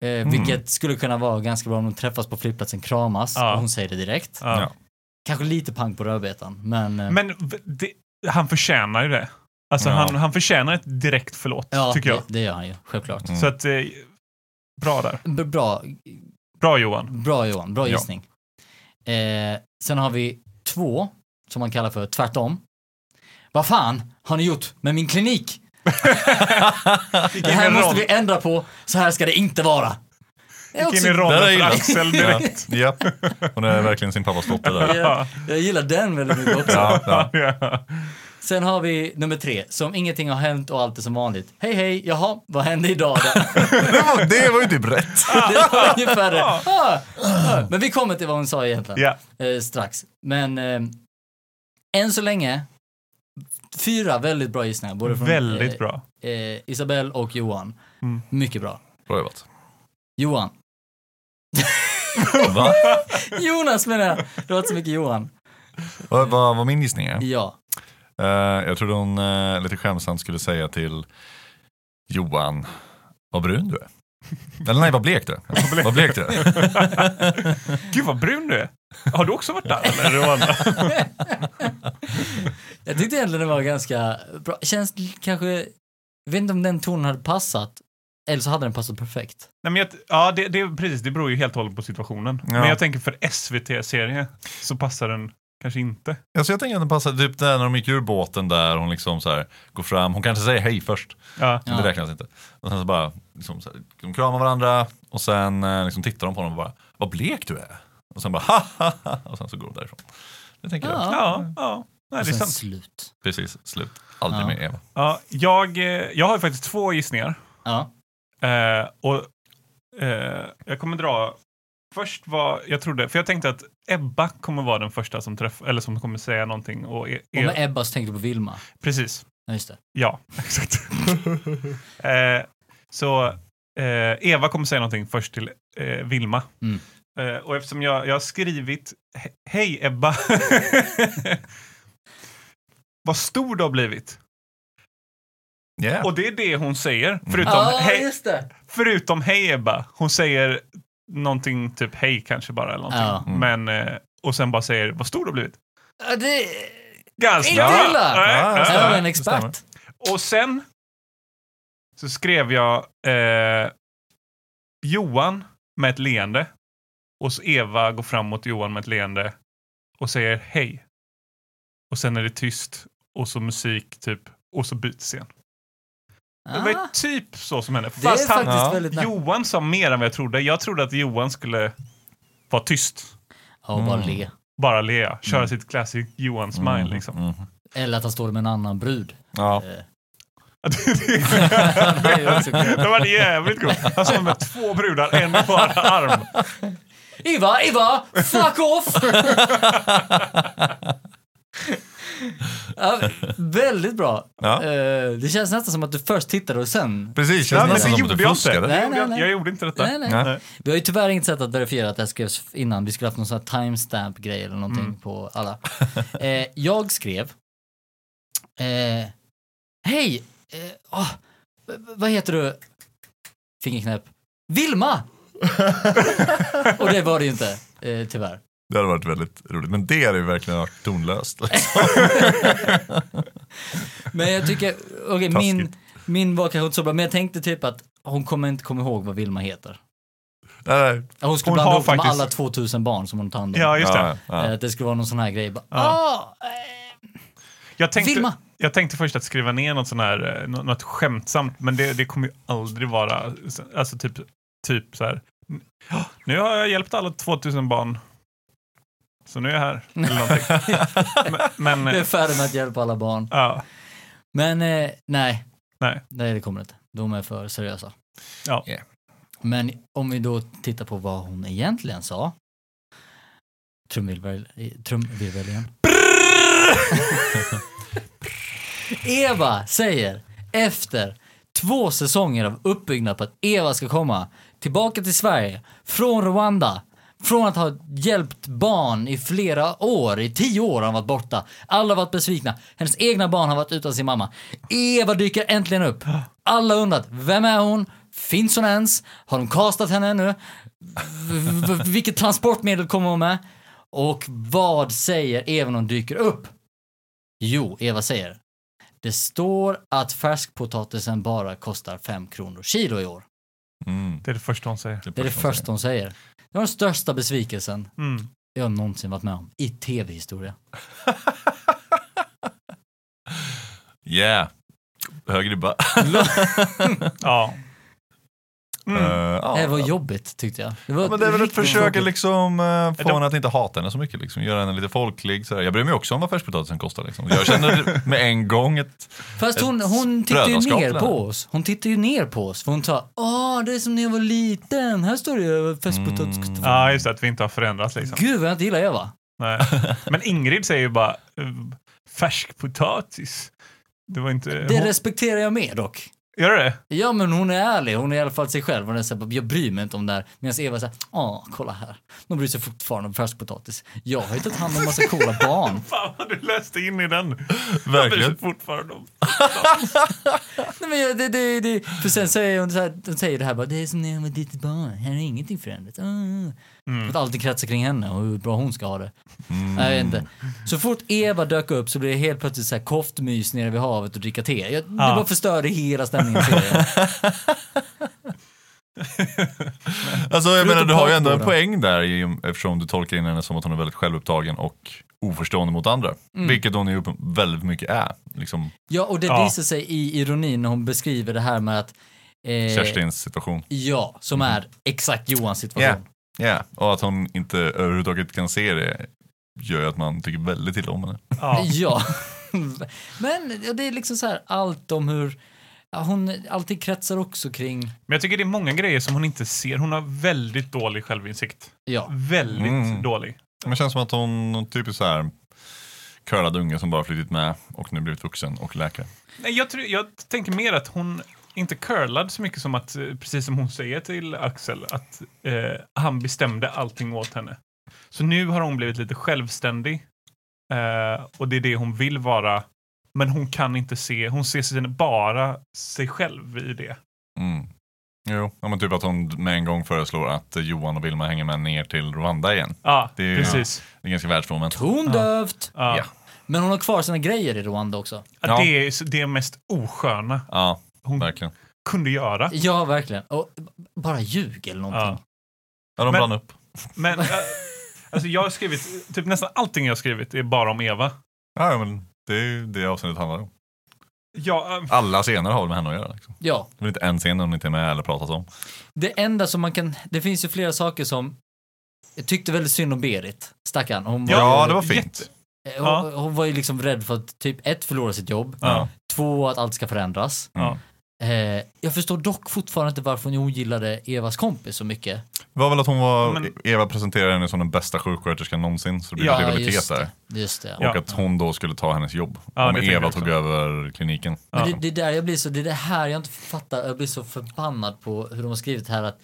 Speaker 3: Eh,
Speaker 4: Mm.
Speaker 3: Vilket skulle kunna vara ganska bra om de träffas på flygplatsen, kramas
Speaker 4: Ja.
Speaker 3: och hon säger det direkt.
Speaker 4: Ja.
Speaker 2: Ja.
Speaker 3: Kanske lite pang på rödbetan, men, eh,
Speaker 4: Men v- det, han förtjänar ju det. Alltså
Speaker 2: Ja.
Speaker 4: han, han förtjänar ett direkt förlåt,
Speaker 3: ja,
Speaker 4: tycker jag.
Speaker 3: Det, det gör han ju, självklart.
Speaker 2: Mm.
Speaker 4: Så att, eh, bra där.
Speaker 3: B- Bra,
Speaker 4: Bra Johan.
Speaker 3: Bra Johan, bra
Speaker 2: Ja.
Speaker 3: gissning. Eh, sen har vi två, som man kallar för tvärtom. Vad fan har ni gjort med min klinik? Det här
Speaker 4: Vilken
Speaker 3: måste
Speaker 4: roll.
Speaker 3: vi ändra på, så här ska det inte vara. Jag,
Speaker 4: Gick in i
Speaker 2: Där har
Speaker 4: rollen för
Speaker 2: jag
Speaker 4: Axel
Speaker 2: Ja.
Speaker 4: direkt.
Speaker 2: ja, hon är verkligen sin pappas dotter där.
Speaker 3: jag, jag gillar den väldigt mycket också.
Speaker 2: Ja, ja.
Speaker 4: Ja.
Speaker 3: Sen har vi nummer tre, som ingenting har hänt och allt är som vanligt. Hej hej, jaha, vad hände idag då?
Speaker 2: Det, var, det var ju typ rätt.
Speaker 3: Det var ungefär det. Ah, ah. Men vi kommer till vad hon sa egentligen.
Speaker 4: Ja.
Speaker 3: eh, strax. Men eh, än så länge, fyra väldigt bra gissningar. Både från
Speaker 4: Väldigt bra.
Speaker 3: Eh, eh, Isabel och Johan.
Speaker 4: Mm.
Speaker 3: Mycket bra.
Speaker 2: Bra jobbat.
Speaker 3: Johan.
Speaker 2: Va?
Speaker 3: Jonas menar jag. Det var inte så mycket Johan.
Speaker 2: Vad vad var min gissning? är?
Speaker 3: Ja.
Speaker 2: Eh, jag trodde hon eh, lite skämtsamt skulle säga till Johan, vad brun du är. Eller nej, vad blek du är. Vad blek du är.
Speaker 4: Gud vad brun du är. Har du också varit där eller? Johan?
Speaker 3: Jag tyckte egentligen det var ganska bra. Känns l- kanske, jag vet inte om den tonen hade passat Eller så hade den passat perfekt.
Speaker 4: Nej, men jag, ja, det, det, precis. Det beror ju helt och hållet på situationen.
Speaker 2: Ja.
Speaker 4: Men jag tänker för SVT-serie så passar den kanske inte.
Speaker 2: Alltså jag tänker att den passar typ där när de gick ur båten där hon liksom så här går fram, hon kanske säger hej först,
Speaker 4: Ja.
Speaker 2: men
Speaker 3: Ja.
Speaker 2: det räknas inte. Och sen så bara, liksom, så här, de kramar varandra och sen eh, liksom tittar de på honom och bara, vad blek du är. Och sen bara, ha ha ha, och sen så går de därifrån. Det tänker jag.
Speaker 3: Ja.
Speaker 4: Ja, ja. Nej,
Speaker 3: Och
Speaker 4: det är
Speaker 3: sen
Speaker 4: sant.
Speaker 3: slut.
Speaker 2: Precis, slut. Aldrig
Speaker 3: Ja.
Speaker 2: mer Eva.
Speaker 4: Ja, jag, eh, jag har ju faktiskt två gissningar.
Speaker 3: Ja.
Speaker 4: Eh, och eh, jag kommer dra... Först vad jag trodde, för jag tänkte att Ebba kommer vara den första som träff, eller som kommer säga någonting. Och e,
Speaker 3: Och
Speaker 4: e,
Speaker 3: med Ebba så tänkte du på Vilma.
Speaker 4: precis,
Speaker 3: Ja, just det.
Speaker 4: ja, exakt. eh, så eh, Eva kommer säga någonting först till eh, Vilma.
Speaker 3: Mm.
Speaker 4: Eh, och eftersom jag, jag har skrivit "He- Hej Ebba. Vad stor du har blivit.
Speaker 2: Yeah.
Speaker 4: Och det är det hon säger. Förutom,
Speaker 3: Ja,
Speaker 4: hej,
Speaker 3: just det.
Speaker 4: Förutom hej Ebba. Hon säger någonting typ hej kanske bara eller någonting.
Speaker 3: Ja.
Speaker 2: Mm.
Speaker 4: Men, eh, och sen bara säger vad stor du har blivit.
Speaker 3: Ja, det...
Speaker 4: Ganska
Speaker 3: Inte
Speaker 4: bra.
Speaker 3: illa!
Speaker 4: Nej,
Speaker 2: Ja,
Speaker 4: nej.
Speaker 2: det
Speaker 3: Här har vi en
Speaker 2: det
Speaker 3: expert.
Speaker 4: Och sen så skrev jag eh, Johan med ett leende. Och så Eva går fram mot Johan med ett leende och säger hej. Och sen är det tyst och så musik typ och så byts scen. Det var ju
Speaker 3: Ah,
Speaker 4: typ så som hände.
Speaker 3: det är
Speaker 4: Fast han,
Speaker 3: faktiskt
Speaker 2: Ja.
Speaker 3: väldigt nära.
Speaker 4: Johan sa mer än vad jag trodde. Jag trodde att Johan skulle vara tyst.
Speaker 3: Ja, och bara
Speaker 2: Mm.
Speaker 3: le.
Speaker 4: Bara le, köra
Speaker 2: Mm.
Speaker 4: sitt classic Johan-smile
Speaker 2: Mm,
Speaker 4: liksom.
Speaker 2: mm.
Speaker 3: Eller att han står med en annan brud.
Speaker 2: Ja.
Speaker 3: Eh,
Speaker 4: det
Speaker 3: är också kul.
Speaker 4: var jävligt coolt. Han står med två brudar, en i bara arm.
Speaker 3: Iva, Iva, fuck off! ja, väldigt bra.
Speaker 2: Ja.
Speaker 3: Eh, det känns nästan som att du först tittade och sen...
Speaker 2: Precis,
Speaker 4: Ja,
Speaker 2: känns
Speaker 4: men
Speaker 2: nästan som
Speaker 4: det
Speaker 2: att
Speaker 4: gjorde
Speaker 2: du
Speaker 4: jag inte.
Speaker 2: fuskade.
Speaker 4: Det
Speaker 3: Nej, nej,
Speaker 4: gjorde jag inte.
Speaker 3: nej.
Speaker 4: Jag gjorde inte detta.
Speaker 3: Nej, nej.
Speaker 2: Nej.
Speaker 3: Vi har ju tyvärr inget sätt att verifiera att det här skrevs innan. Vi skulle haft någon sån här timestamp-grej eller någonting på alla. Eh, jag skrev... Eh, Hej! Eh, åh, v- v- vad heter du? Fingerknäpp. Vilma! och det var det ju inte, eh, tyvärr.
Speaker 2: Det hade varit väldigt roligt, men det hade ju verkligen varit tonlöst.
Speaker 3: Men jag tycker, okej min,
Speaker 2: Taskigt.
Speaker 3: min var kanske inte så bra, men jag tänkte typ att hon kommer inte komma ihåg vad Vilma heter.
Speaker 2: Nej, nej.
Speaker 3: Hon skulle
Speaker 4: Hon
Speaker 3: blanda
Speaker 4: har
Speaker 3: ihop faktiskt...
Speaker 4: faktiskt-
Speaker 3: alla 2000 barn som hon tar hand om.
Speaker 4: Ja, just det.
Speaker 2: Ja, ja.
Speaker 3: Eh, Att det skulle vara någon sån här grej. Bara, "Ah, eh,
Speaker 4: Jag tänkte,
Speaker 3: Vilma.
Speaker 4: jag tänkte först att skriva ner något, sån här, eh, nå- något skämtsamt, men det, det kommer ju aldrig vara... Alltså typ, typ så här... "Ja, Nu har jag hjälpt alla 2000 barn. Så nu är jag här. Eller någonting. men, men
Speaker 3: Jag är
Speaker 4: eh,
Speaker 3: färdig med att hjälpa alla barn.
Speaker 4: ja,
Speaker 3: Men eh, nej.
Speaker 4: Nej.
Speaker 3: nej, det kommer inte. De är för seriösa.
Speaker 4: Ja.
Speaker 2: Yeah.
Speaker 3: Men om vi då tittar på vad hon egentligen sa. Trumvirvel eh, trumvirvel igen. Eva säger efter två säsonger av uppbyggnad på att Eva ska komma tillbaka till Sverige från Rwanda från att ha hjälpt barn i flera år, i tio år har hon varit borta. Alla har varit besvikna. Hennes egna barn har varit utan sin mamma. Eva dyker äntligen upp. Alla har undrat, vem är hon? Finns hon ens? Har de castat henne ännu? V- v- vilket transportmedel kommer hon med? Och vad säger Eva när hon dyker upp? Jo, Eva säger. Det står att färskpotatisen bara kostar 5 kronor kilo i år.
Speaker 2: Mm.
Speaker 4: det är det första hon säger.
Speaker 3: Det är det första hon säger. Det var den största besvikelsen
Speaker 4: Mm.
Speaker 3: jag någonsin varit med om i tv-historia.
Speaker 2: Yeah. Hög ribba.
Speaker 4: Ja.
Speaker 2: Eh,
Speaker 4: Mm.
Speaker 2: ja.
Speaker 3: det var jobbigt tyckte jag. Det var
Speaker 2: Ja, men det är väl ett
Speaker 3: riktigt
Speaker 2: försök att
Speaker 3: jobbigt.
Speaker 2: liksom, eh, få
Speaker 4: de-
Speaker 2: henne att inte hata henne så mycket. Liksom. Göra henne lite folklig. Sådär. Jag bryr mig också om vad färskpotatisen kostar. Liksom. Jag känner med en gång att
Speaker 3: Fast hon, hon
Speaker 2: ett
Speaker 3: tittar ju
Speaker 2: brödraskap
Speaker 3: ner
Speaker 2: där.
Speaker 3: på oss. Hon tittar ju ner på oss. För hon sa, åh det är som när jag var liten. Här står det ju färskpotatis.
Speaker 2: Mm.
Speaker 3: kostar-
Speaker 4: ja, just det, att vi inte har förändrats liksom.
Speaker 3: Gud vad jag inte gillar Eva.
Speaker 4: Nej. Men Ingrid säger ju bara eh, färskpotatis. Det var inte...
Speaker 3: Det
Speaker 4: hon-
Speaker 3: respekterar jag mer dock.
Speaker 4: Gör det?
Speaker 3: Ja men hon är ärlig, hon är i alla fall sig själv. Hon är så här, jag bryr mig inte om det här. Medan Eva säger, åh kolla här. De bryr sig fortfarande om färskpotatis. Jag har ju tagit hand om massa coola barn.
Speaker 4: Fan vad du läste in i den.
Speaker 2: verkligen.
Speaker 4: fortfarande om.
Speaker 3: Nej, men jag- det, det, det. För sen säger hon, så här, hon säger det här bara, det är som när jag var ett litet barn, här har ingenting förändrats. Ah.
Speaker 4: Mm.
Speaker 3: För att allting kretsar kring henne och hur bra hon ska ha det. Nej, jag vet inte. Så fort Eva dök upp så blev det helt plötsligt så här koftmys nere vid havet och dricka te. Jag, Det
Speaker 4: Ja.
Speaker 3: bara förstörde hela stämningen i serien.
Speaker 2: Alltså jag
Speaker 3: Förutom
Speaker 2: menar du har ju ändå en
Speaker 3: partner.
Speaker 2: poäng där i- eftersom du tolkar in henne som att hon är väldigt självupptagen och oförstående mot andra. Vilket hon ju uppen- väldigt mycket är. Liksom
Speaker 3: Ja, och det
Speaker 4: Ja.
Speaker 3: visar sig i ironin när hon beskriver det här med att... eh,
Speaker 2: Kerstins situation. Alltså,
Speaker 3: Ja, som är exakt Johans situation.
Speaker 2: Ja, och att hon inte överhuvudtaget kan se det gör ju att man tycker väldigt illa om henne.
Speaker 4: Ja.
Speaker 3: Ja. Men ja, det är liksom så här allt om hur... ja, Hon alltid kretsar också kring...
Speaker 4: Men jag tycker det är många grejer som hon inte ser. Hon har väldigt dålig självinsikt.
Speaker 3: Ja.
Speaker 4: Väldigt
Speaker 2: Mm.
Speaker 4: dålig.
Speaker 2: Men det känns som att hon typ är så här curlad unge som bara flyttit med och nu blivit vuxen och läkare.
Speaker 4: Nej, jag, tror, jag tänker mer att hon inte curlad så mycket som att, eh, precis som hon säger till Axel, att eh, han bestämde allting åt henne. Så nu har hon blivit lite självständig eh, och det är det hon vill vara. Men hon kan inte se, hon ser sin, bara sig själv i det.
Speaker 2: Mm. Jo, ja, men typ att hon med en gång föreslår att eh, Johan och Vilma hänger med ner till Rwanda igen.
Speaker 4: Ja,
Speaker 2: Det är-
Speaker 4: precis.
Speaker 2: Det är ganska världsfrånvänt.
Speaker 3: Tondövt!
Speaker 4: Ja.
Speaker 2: Ja.
Speaker 3: Men hon har kvar sina grejer i Rwanda också.
Speaker 4: Att
Speaker 2: Ja.
Speaker 4: Det är s- det mest osköna
Speaker 2: Ja,
Speaker 4: hon
Speaker 2: verkligen.
Speaker 4: kunde göra.
Speaker 3: Ja, verkligen. Och b- bara ljug eller någonting.
Speaker 2: Ja, de
Speaker 4: Men-
Speaker 2: brann upp.
Speaker 4: Men eh, alltså jag har skrivit, typ nästan allting jag har skrivit är bara om Eva.
Speaker 2: Ja, ja, men det är ju det avsnittet handlar om.
Speaker 4: Ja, eh,
Speaker 2: Alla scener har väl med henne att göra. Liksom.
Speaker 3: Ja.
Speaker 2: Det är väl inte en scen hon inte är med eller pratas om.
Speaker 3: Det enda som man kan... Det finns ju flera saker som... Jag tyckte väldigt synd om Berit, stackarn. Hon var,
Speaker 2: Ja,
Speaker 4: Ja,
Speaker 2: det var
Speaker 4: jätte-
Speaker 2: fint.
Speaker 3: hon,
Speaker 4: ja.
Speaker 3: hon var ju liksom rädd för att typ ett, förlora sitt jobb.
Speaker 2: Ja.
Speaker 3: Två, att allt ska förändras.
Speaker 2: Mm.
Speaker 4: Ja.
Speaker 3: Eh, jag förstår dock fortfarande inte varför hon ogillade Evas kompis så mycket.
Speaker 2: Det var väl att hon var,
Speaker 4: Men-
Speaker 2: Eva presenterade henne som den bästa sjuksköterskan någonsin, så det blev
Speaker 4: Ja,
Speaker 2: rivalitet
Speaker 3: just
Speaker 2: där.
Speaker 3: det. Just det.
Speaker 4: Ja.
Speaker 2: Och att hon då skulle ta hennes jobb.
Speaker 4: Ja,
Speaker 2: om
Speaker 4: det tänker
Speaker 2: Eva
Speaker 4: jag
Speaker 2: tog
Speaker 4: också.
Speaker 2: över kliniken.
Speaker 4: Ja.
Speaker 3: Men det, det, är där jag blir så, det är det här jag inte fattar. Jag blir så förbannad på hur de har skrivit här att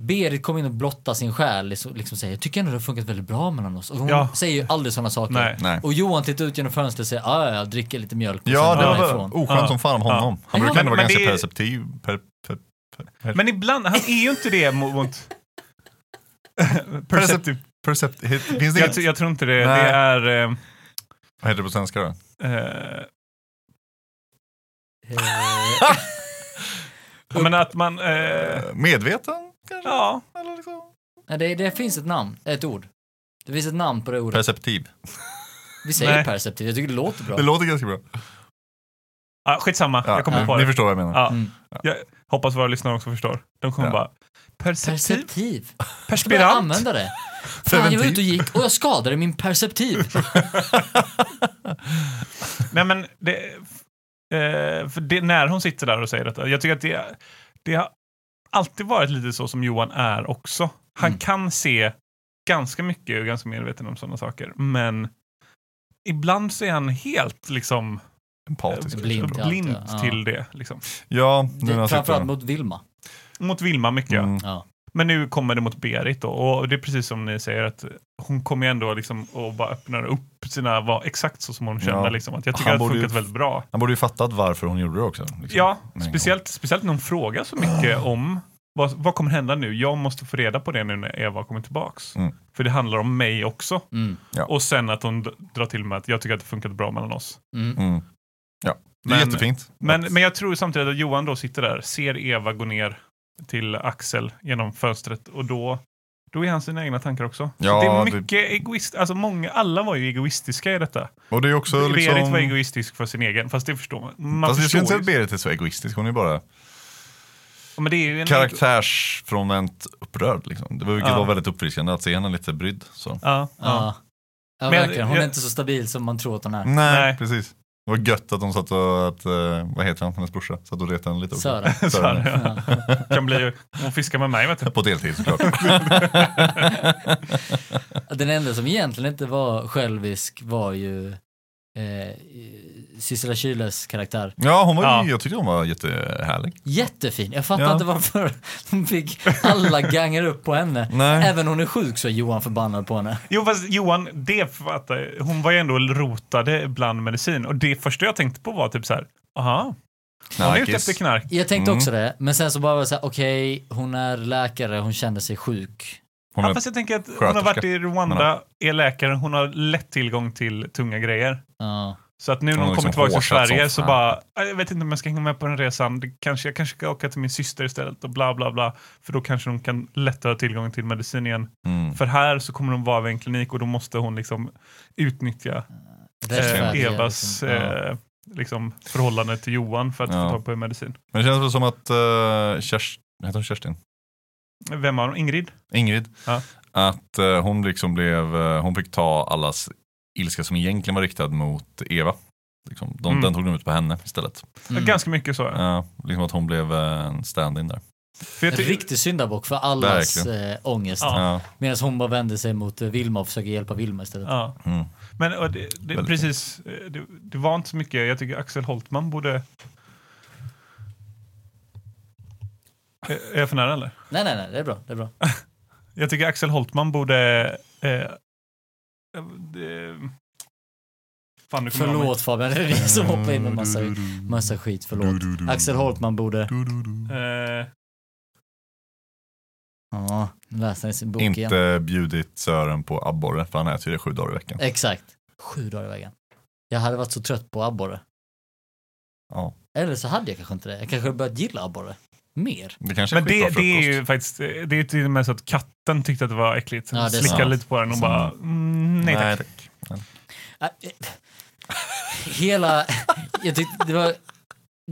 Speaker 3: Berit kom in och blottade sin själ. Liksom, liksom säger, jag tycker ändå det har funkat väldigt bra mellan oss. Och hon
Speaker 4: Ja.
Speaker 3: säger ju aldrig sådana saker.
Speaker 4: Nej.
Speaker 2: Nej.
Speaker 3: Och Johan tittar ut genom fönstret och säger "Ah, ja, ja, jag dricker lite mjölk och
Speaker 2: Ja,
Speaker 3: sen
Speaker 2: det
Speaker 3: går
Speaker 2: var Oh.
Speaker 3: han
Speaker 2: väl
Speaker 3: ifrån.
Speaker 2: oskönt
Speaker 4: Ja.
Speaker 2: som fan om
Speaker 4: Ja.
Speaker 2: honom. Han
Speaker 3: Ja,
Speaker 2: brukar ändå vara
Speaker 4: men
Speaker 2: ganska
Speaker 4: det är-
Speaker 2: perceptiv. Per, per, per,
Speaker 4: Men ibland, han är ju inte det mot... mot Percept-
Speaker 2: perceptiv. Percept, hit- finns det
Speaker 4: jag,
Speaker 2: inget?
Speaker 4: tr- jag tror inte det.
Speaker 2: Nej.
Speaker 4: Det är... eh,
Speaker 2: Vad heter det på svenska då?
Speaker 4: eh,
Speaker 3: Eh,
Speaker 4: jag menar att man... eh,
Speaker 2: Eh, Medveten kanske?
Speaker 4: ja,
Speaker 2: Eller liksom?
Speaker 3: nej, det, det finns ett namn, ett ord. Det finns ett namn på det ordet.
Speaker 2: Perceptiv.
Speaker 3: Vi säger
Speaker 4: Nej.
Speaker 3: perceptiv, jag tycker det låter bra.
Speaker 2: Det låter ganska bra.
Speaker 4: ah, skitsamma.
Speaker 2: Ja, eh,
Speaker 4: jag kommer
Speaker 3: ja.
Speaker 4: på
Speaker 2: Ni
Speaker 4: det.
Speaker 2: förstår vad jag menar.
Speaker 4: Ja.
Speaker 3: Mm.
Speaker 4: Jag hoppas våra lyssnare också förstår. De kommer
Speaker 2: Ja.
Speaker 4: bara... Perceptiv?
Speaker 3: Perceptiv? Jag börjar
Speaker 4: Perspirant?
Speaker 3: använda det. Fan, jag var ute och gick och jag skadade min perceptiv.
Speaker 4: Nej men, det, eh, för det, när hon sitter där och säger detta, jag tycker att det, det har alltid varit lite så som Johan är också. Han
Speaker 3: Mm.
Speaker 4: kan se ganska mycket och ganska medveten om sådana saker, men ibland så är han helt liksom
Speaker 2: Empatisk.
Speaker 3: Blind till allt,
Speaker 4: blind
Speaker 3: ja.
Speaker 4: till det. Liksom.
Speaker 2: Ja, nu när
Speaker 3: Det-
Speaker 2: jag
Speaker 3: Framförallt
Speaker 2: sitter...
Speaker 3: mot Vilma.
Speaker 4: Mot Vilma mycket. ja.
Speaker 2: Mm.
Speaker 3: Ja.
Speaker 4: Men nu kommer det mot Berit då, och det är precis som ni säger att hon kommer ju ändå liksom och bara öppnar upp sina, var exakt så som hon känner.
Speaker 2: Ja.
Speaker 4: Liksom. Att jag tycker
Speaker 2: Han
Speaker 4: att det har
Speaker 2: borde ju-
Speaker 4: funkat väldigt bra.
Speaker 2: Han borde ju fattat varför hon gjorde det också. liksom.
Speaker 4: Ja,
Speaker 2: Med en gång. Ah.
Speaker 4: speciellt, speciellt när hon frågar så mycket om vad, vad kommer hända nu? Jag måste få reda på det nu när Eva kommer tillbaks.
Speaker 2: Mm.
Speaker 4: För det handlar om mig också.
Speaker 3: Mm.
Speaker 2: Ja.
Speaker 4: Och sen att hon d- drar till med att jag tycker att det funkat bra mellan oss.
Speaker 3: Mm.
Speaker 2: Mm. Ja, det är
Speaker 4: Men-
Speaker 2: jättefint.
Speaker 4: Men,
Speaker 2: Att-
Speaker 4: men jag tror samtidigt att Johan då sitter där, ser Eva gå ner till Axel genom fönstret och då, då är han sina egna tankar också.
Speaker 2: Ja,
Speaker 4: det är
Speaker 2: det-
Speaker 4: mycket egoist, alltså många, alla var ju egoistiska i detta.
Speaker 2: och det är också
Speaker 4: Berit
Speaker 2: liksom...
Speaker 4: var egoistisk för sin egen, fast det förstår man. man
Speaker 2: Fast jag
Speaker 4: förstår
Speaker 2: skulle inte säga
Speaker 4: ju-
Speaker 2: att Berit är så egoistisk. Hon är bara
Speaker 4: men det är ju en
Speaker 2: karaktärsfrånvänt upprörd. Liksom. Det var, vilket
Speaker 4: Ja.
Speaker 2: var väldigt uppfriskande att se henne lite brydd. Så.
Speaker 4: Ja, ja.
Speaker 3: Ja. Ja,
Speaker 4: Men-
Speaker 3: verkligen. Hon är
Speaker 4: jag-
Speaker 3: inte så stabil som man tror att hon är.
Speaker 2: Nej,
Speaker 4: Nej.
Speaker 2: precis. Det var gött att de satt och, att, eh, vad heter han, hennes brorsa, satt och retade henne lite också.
Speaker 3: Sören.
Speaker 4: Så här,
Speaker 2: Sören,
Speaker 4: ja.
Speaker 3: Ja.
Speaker 4: kan bli och fiska med mig. Vet du.
Speaker 2: ja. På deltid såklart.
Speaker 3: Den enda som egentligen inte var självisk var ju eh, Sissela Kyles karaktär.
Speaker 2: ja, hon var, ju-
Speaker 4: Ja.
Speaker 2: jag tyckte hon var jättehärlig.
Speaker 3: Jättefin. Jag fattar
Speaker 2: Ja.
Speaker 3: inte varför de fick alla ganger upp på henne.
Speaker 2: Nej.
Speaker 3: Även hon är sjuk så är Johan förbannad på henne.
Speaker 4: Jo, fast Johan, det fattar jag. Hon var ju ändå rotade bland medicin och det första jag tänkte på var typ så här, aha, hon är ute
Speaker 2: Knarkis.
Speaker 4: efter knark.
Speaker 3: Jag tänkte
Speaker 2: Mm.
Speaker 3: också det, men sen så bara var det så här, okej, hon är läkare, hon känner sig sjuk.
Speaker 2: Hon
Speaker 4: Ja,
Speaker 2: är,
Speaker 4: fast jag tänker att hon har
Speaker 2: sköterska.
Speaker 4: varit i Rwanda, är läkare, hon har lätt tillgång till tunga grejer.
Speaker 3: Ja.
Speaker 4: Så att nu när
Speaker 2: Hon
Speaker 4: hon
Speaker 2: har
Speaker 4: kommer
Speaker 2: liksom
Speaker 4: tillbaka till
Speaker 2: hårsat
Speaker 4: Sverige
Speaker 2: som
Speaker 4: så bara, "Ah, jag vet inte om jag ska hänga med på den resan. Det kanske, jag kanske ska åka till min syster istället och bla bla bla. För då kanske hon kan lättare ha tillgång till medicin igen.
Speaker 2: Mm.
Speaker 4: För här så kommer de vara vid en klinik och då måste hon liksom utnyttja eh,
Speaker 3: Rättfärdiga,
Speaker 4: Evas
Speaker 3: liksom. Ja.
Speaker 4: eh, liksom, förhållande till Johan för att
Speaker 2: Ja.
Speaker 4: få tag på medicin.
Speaker 2: Men det känns väl som att eh, Kerstin, heter hon Kerstin?
Speaker 4: Vem av dem? Ingrid?
Speaker 2: Ingrid.
Speaker 4: Ja.
Speaker 2: Att eh, hon liksom blev, eh, hon fick ta allas ilska som egentligen var riktad mot Eva. Liksom, de,
Speaker 4: Mm.
Speaker 2: Den tog de ut på henne istället.
Speaker 3: Mm.
Speaker 4: Ganska mycket så. ja.
Speaker 2: Ja, liksom att hon blev eh, en stand-in där.
Speaker 4: För jag
Speaker 3: En
Speaker 4: ty-
Speaker 3: riktig syndabock för allas eh, ångest.
Speaker 4: Ja.
Speaker 2: Ja.
Speaker 3: Medan hon bara vänder sig mot eh, Vilma och försöker hjälpa Vilma istället.
Speaker 4: ja.
Speaker 2: Mm.
Speaker 4: Men och det, det,
Speaker 2: Väldigt
Speaker 4: precis, eh, det, det var inte så mycket. Jag tycker Axel Holtman borde... Eh, Är jag för nära eller?
Speaker 3: Nej, nej, nej, det är bra. Det är bra.
Speaker 4: Jag tycker Axel Holtman borde... Eh, eh, det, fan, nu kommer jag av mig.
Speaker 3: Förlåt Fabian, det är vi som hoppar in med massa, massa skit. Förlåt. Axel Holtman borde...
Speaker 4: Eh,
Speaker 3: Ja, läsa i sin bok igen.
Speaker 2: Inte bjudit Sören på abborre, för han äter ju det sju dagar i
Speaker 3: Eh.
Speaker 2: veckan.
Speaker 3: Exakt. Sju dagar i veckan. Jag hade varit så trött på abborre.
Speaker 2: Ja.
Speaker 3: Eller så hade jag kanske inte det. Jag kanske hade börjat gilla abborre. Mer.
Speaker 2: Det kanske är
Speaker 4: Men det,
Speaker 2: skitbra
Speaker 4: det är
Speaker 2: frukost.
Speaker 4: ju faktiskt, eh, det är ju till och med så att katten tyckte att det var äckligt.
Speaker 3: Ja, det är
Speaker 4: Ja, Slickade
Speaker 2: sant.
Speaker 4: lite på den och
Speaker 2: Sant.
Speaker 4: bara, mm, nej tack.
Speaker 2: tack.
Speaker 3: Äh, eh, Hela... Jag tyckte det var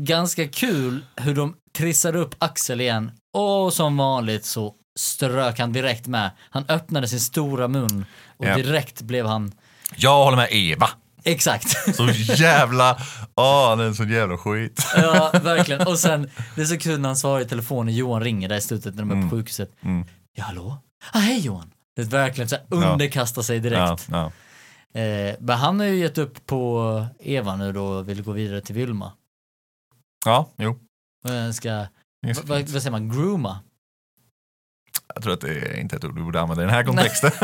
Speaker 3: ganska kul hur de trissade upp Axel igen. Och som vanligt så strök han direkt med. Han öppnade sin stora mun och
Speaker 2: Ja.
Speaker 3: direkt blev han...
Speaker 2: Jag håller med Eva.
Speaker 3: Exakt.
Speaker 2: Så jävla, åh han är en sån jävla skit.
Speaker 3: Ja, verkligen. Och sen, det är så kul när han svarar i telefon och Johan ringer där i slutet när de är på sjukhuset.
Speaker 2: Mm.
Speaker 3: Ja, hallå? Ah, hej Johan. Det är verkligen så här, underkastar sig
Speaker 2: Ja,
Speaker 3: direkt.
Speaker 2: ja.
Speaker 3: Eh, men han har ju gett upp på Eva nu då och vill gå vidare till Vilma.
Speaker 2: ja, jo.
Speaker 3: Och den ska,
Speaker 2: det är så
Speaker 3: vad, vad
Speaker 2: fint.
Speaker 3: säger man, grooma?
Speaker 2: Jag tror att det är inte ett ord vi borde använda i den här kontexten.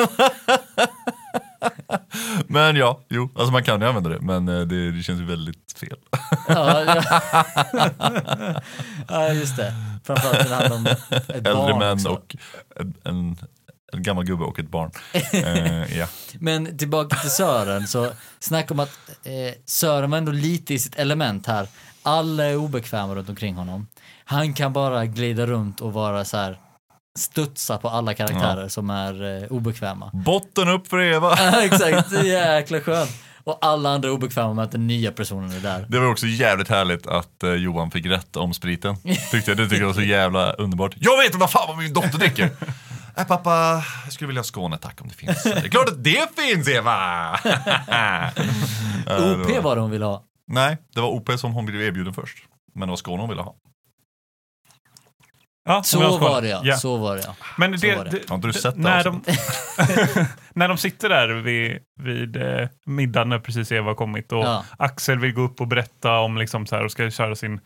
Speaker 2: men ja, jo, alltså man kan ju använda det, men eh, det, det känns ju väldigt fel.
Speaker 3: Ja, ja. ja, just det. Framförallt när det handlar om ett
Speaker 2: Äldre
Speaker 3: barn
Speaker 2: män
Speaker 3: också.
Speaker 2: och en, en, en gammal gubbe och ett barn. Eh, ja.
Speaker 3: Men tillbaka till Sören, så snacka om att eh, Sören var ändå lite i sitt element här. Alla är obekväma runt omkring honom. Han kan bara glida runt och vara så här studsa på alla karaktärer som är eh, obekväma.
Speaker 2: Botten upp för Eva!
Speaker 3: Ja, Exakt, det är jäkla skönt. Och alla andra är obekväma med att den nya personen är där.
Speaker 2: Det var också jävligt härligt att eh, Johan fick rätt om spriten. Tyckte jag. Det tyckte jag var så jävla underbart. Jag vet inte vad fan vad min dotter dricker! Nej pappa, jag skulle vilja ha Skåne tack om det finns. Det är klart att det finns Eva! Äh, Eh, det
Speaker 3: OP var det hon ville ha.
Speaker 2: Nej, det var OP som hon blev erbjuden först. Men det var Skåne hon ville ha.
Speaker 4: Ja, om jag
Speaker 3: Så
Speaker 4: ska-
Speaker 3: var det ja,
Speaker 4: Ja.
Speaker 3: så var det ja.
Speaker 4: Men det,
Speaker 3: var det.
Speaker 4: det-
Speaker 2: Har inte du sett det
Speaker 4: när, de, när de sitter där vid, vid eh, middagen när precis Eva har kommit och
Speaker 3: Ja.
Speaker 4: Axel vill gå upp och berätta om liksom så här och ska köra sin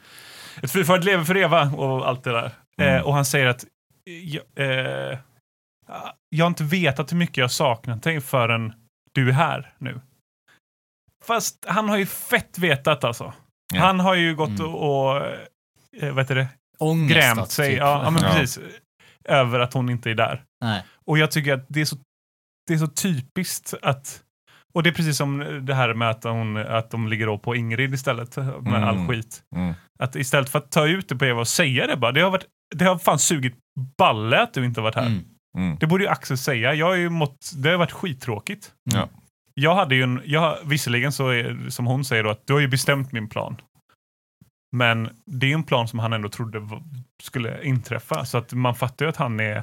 Speaker 4: ett fyrfärdigt leve för Eva och allt det där.
Speaker 2: Mm.
Speaker 4: Eh, och han säger att eh, eh, jag har inte vetat hur mycket jag saknat dig förrän du är här nu. Fast han har ju fett vetat alltså.
Speaker 2: Ja.
Speaker 4: Han har ju gått
Speaker 3: Mm.
Speaker 4: och, och eh, vad heter det,
Speaker 3: Ångest.
Speaker 4: grämt
Speaker 3: att
Speaker 4: sig.
Speaker 3: typ-
Speaker 4: Ja, ja, men
Speaker 2: Ja.
Speaker 4: precis. Över att hon inte är där.
Speaker 3: Nej.
Speaker 4: Och jag tycker att det är så, det är så typiskt att och det är precis som det här med att, hon, att de ligger då på Ingrid istället med
Speaker 2: Mm.
Speaker 4: all skit.
Speaker 2: Mm.
Speaker 4: Att istället för att ta ut det på Eva och säga det bara. Det har, varit, det har fan sugit balle att du inte har varit här.
Speaker 3: Mm.
Speaker 2: Mm.
Speaker 4: Det borde ju Axel säga. Jag har ju mått, det har varit skittråkigt.
Speaker 2: Ja.
Speaker 4: Jag hade ju en, jag, har- visserligen så är, som hon säger då att du har ju bestämt min plan. Men det är en plan som han ändå trodde v- skulle inträffa. Så att man fattar ju att han är...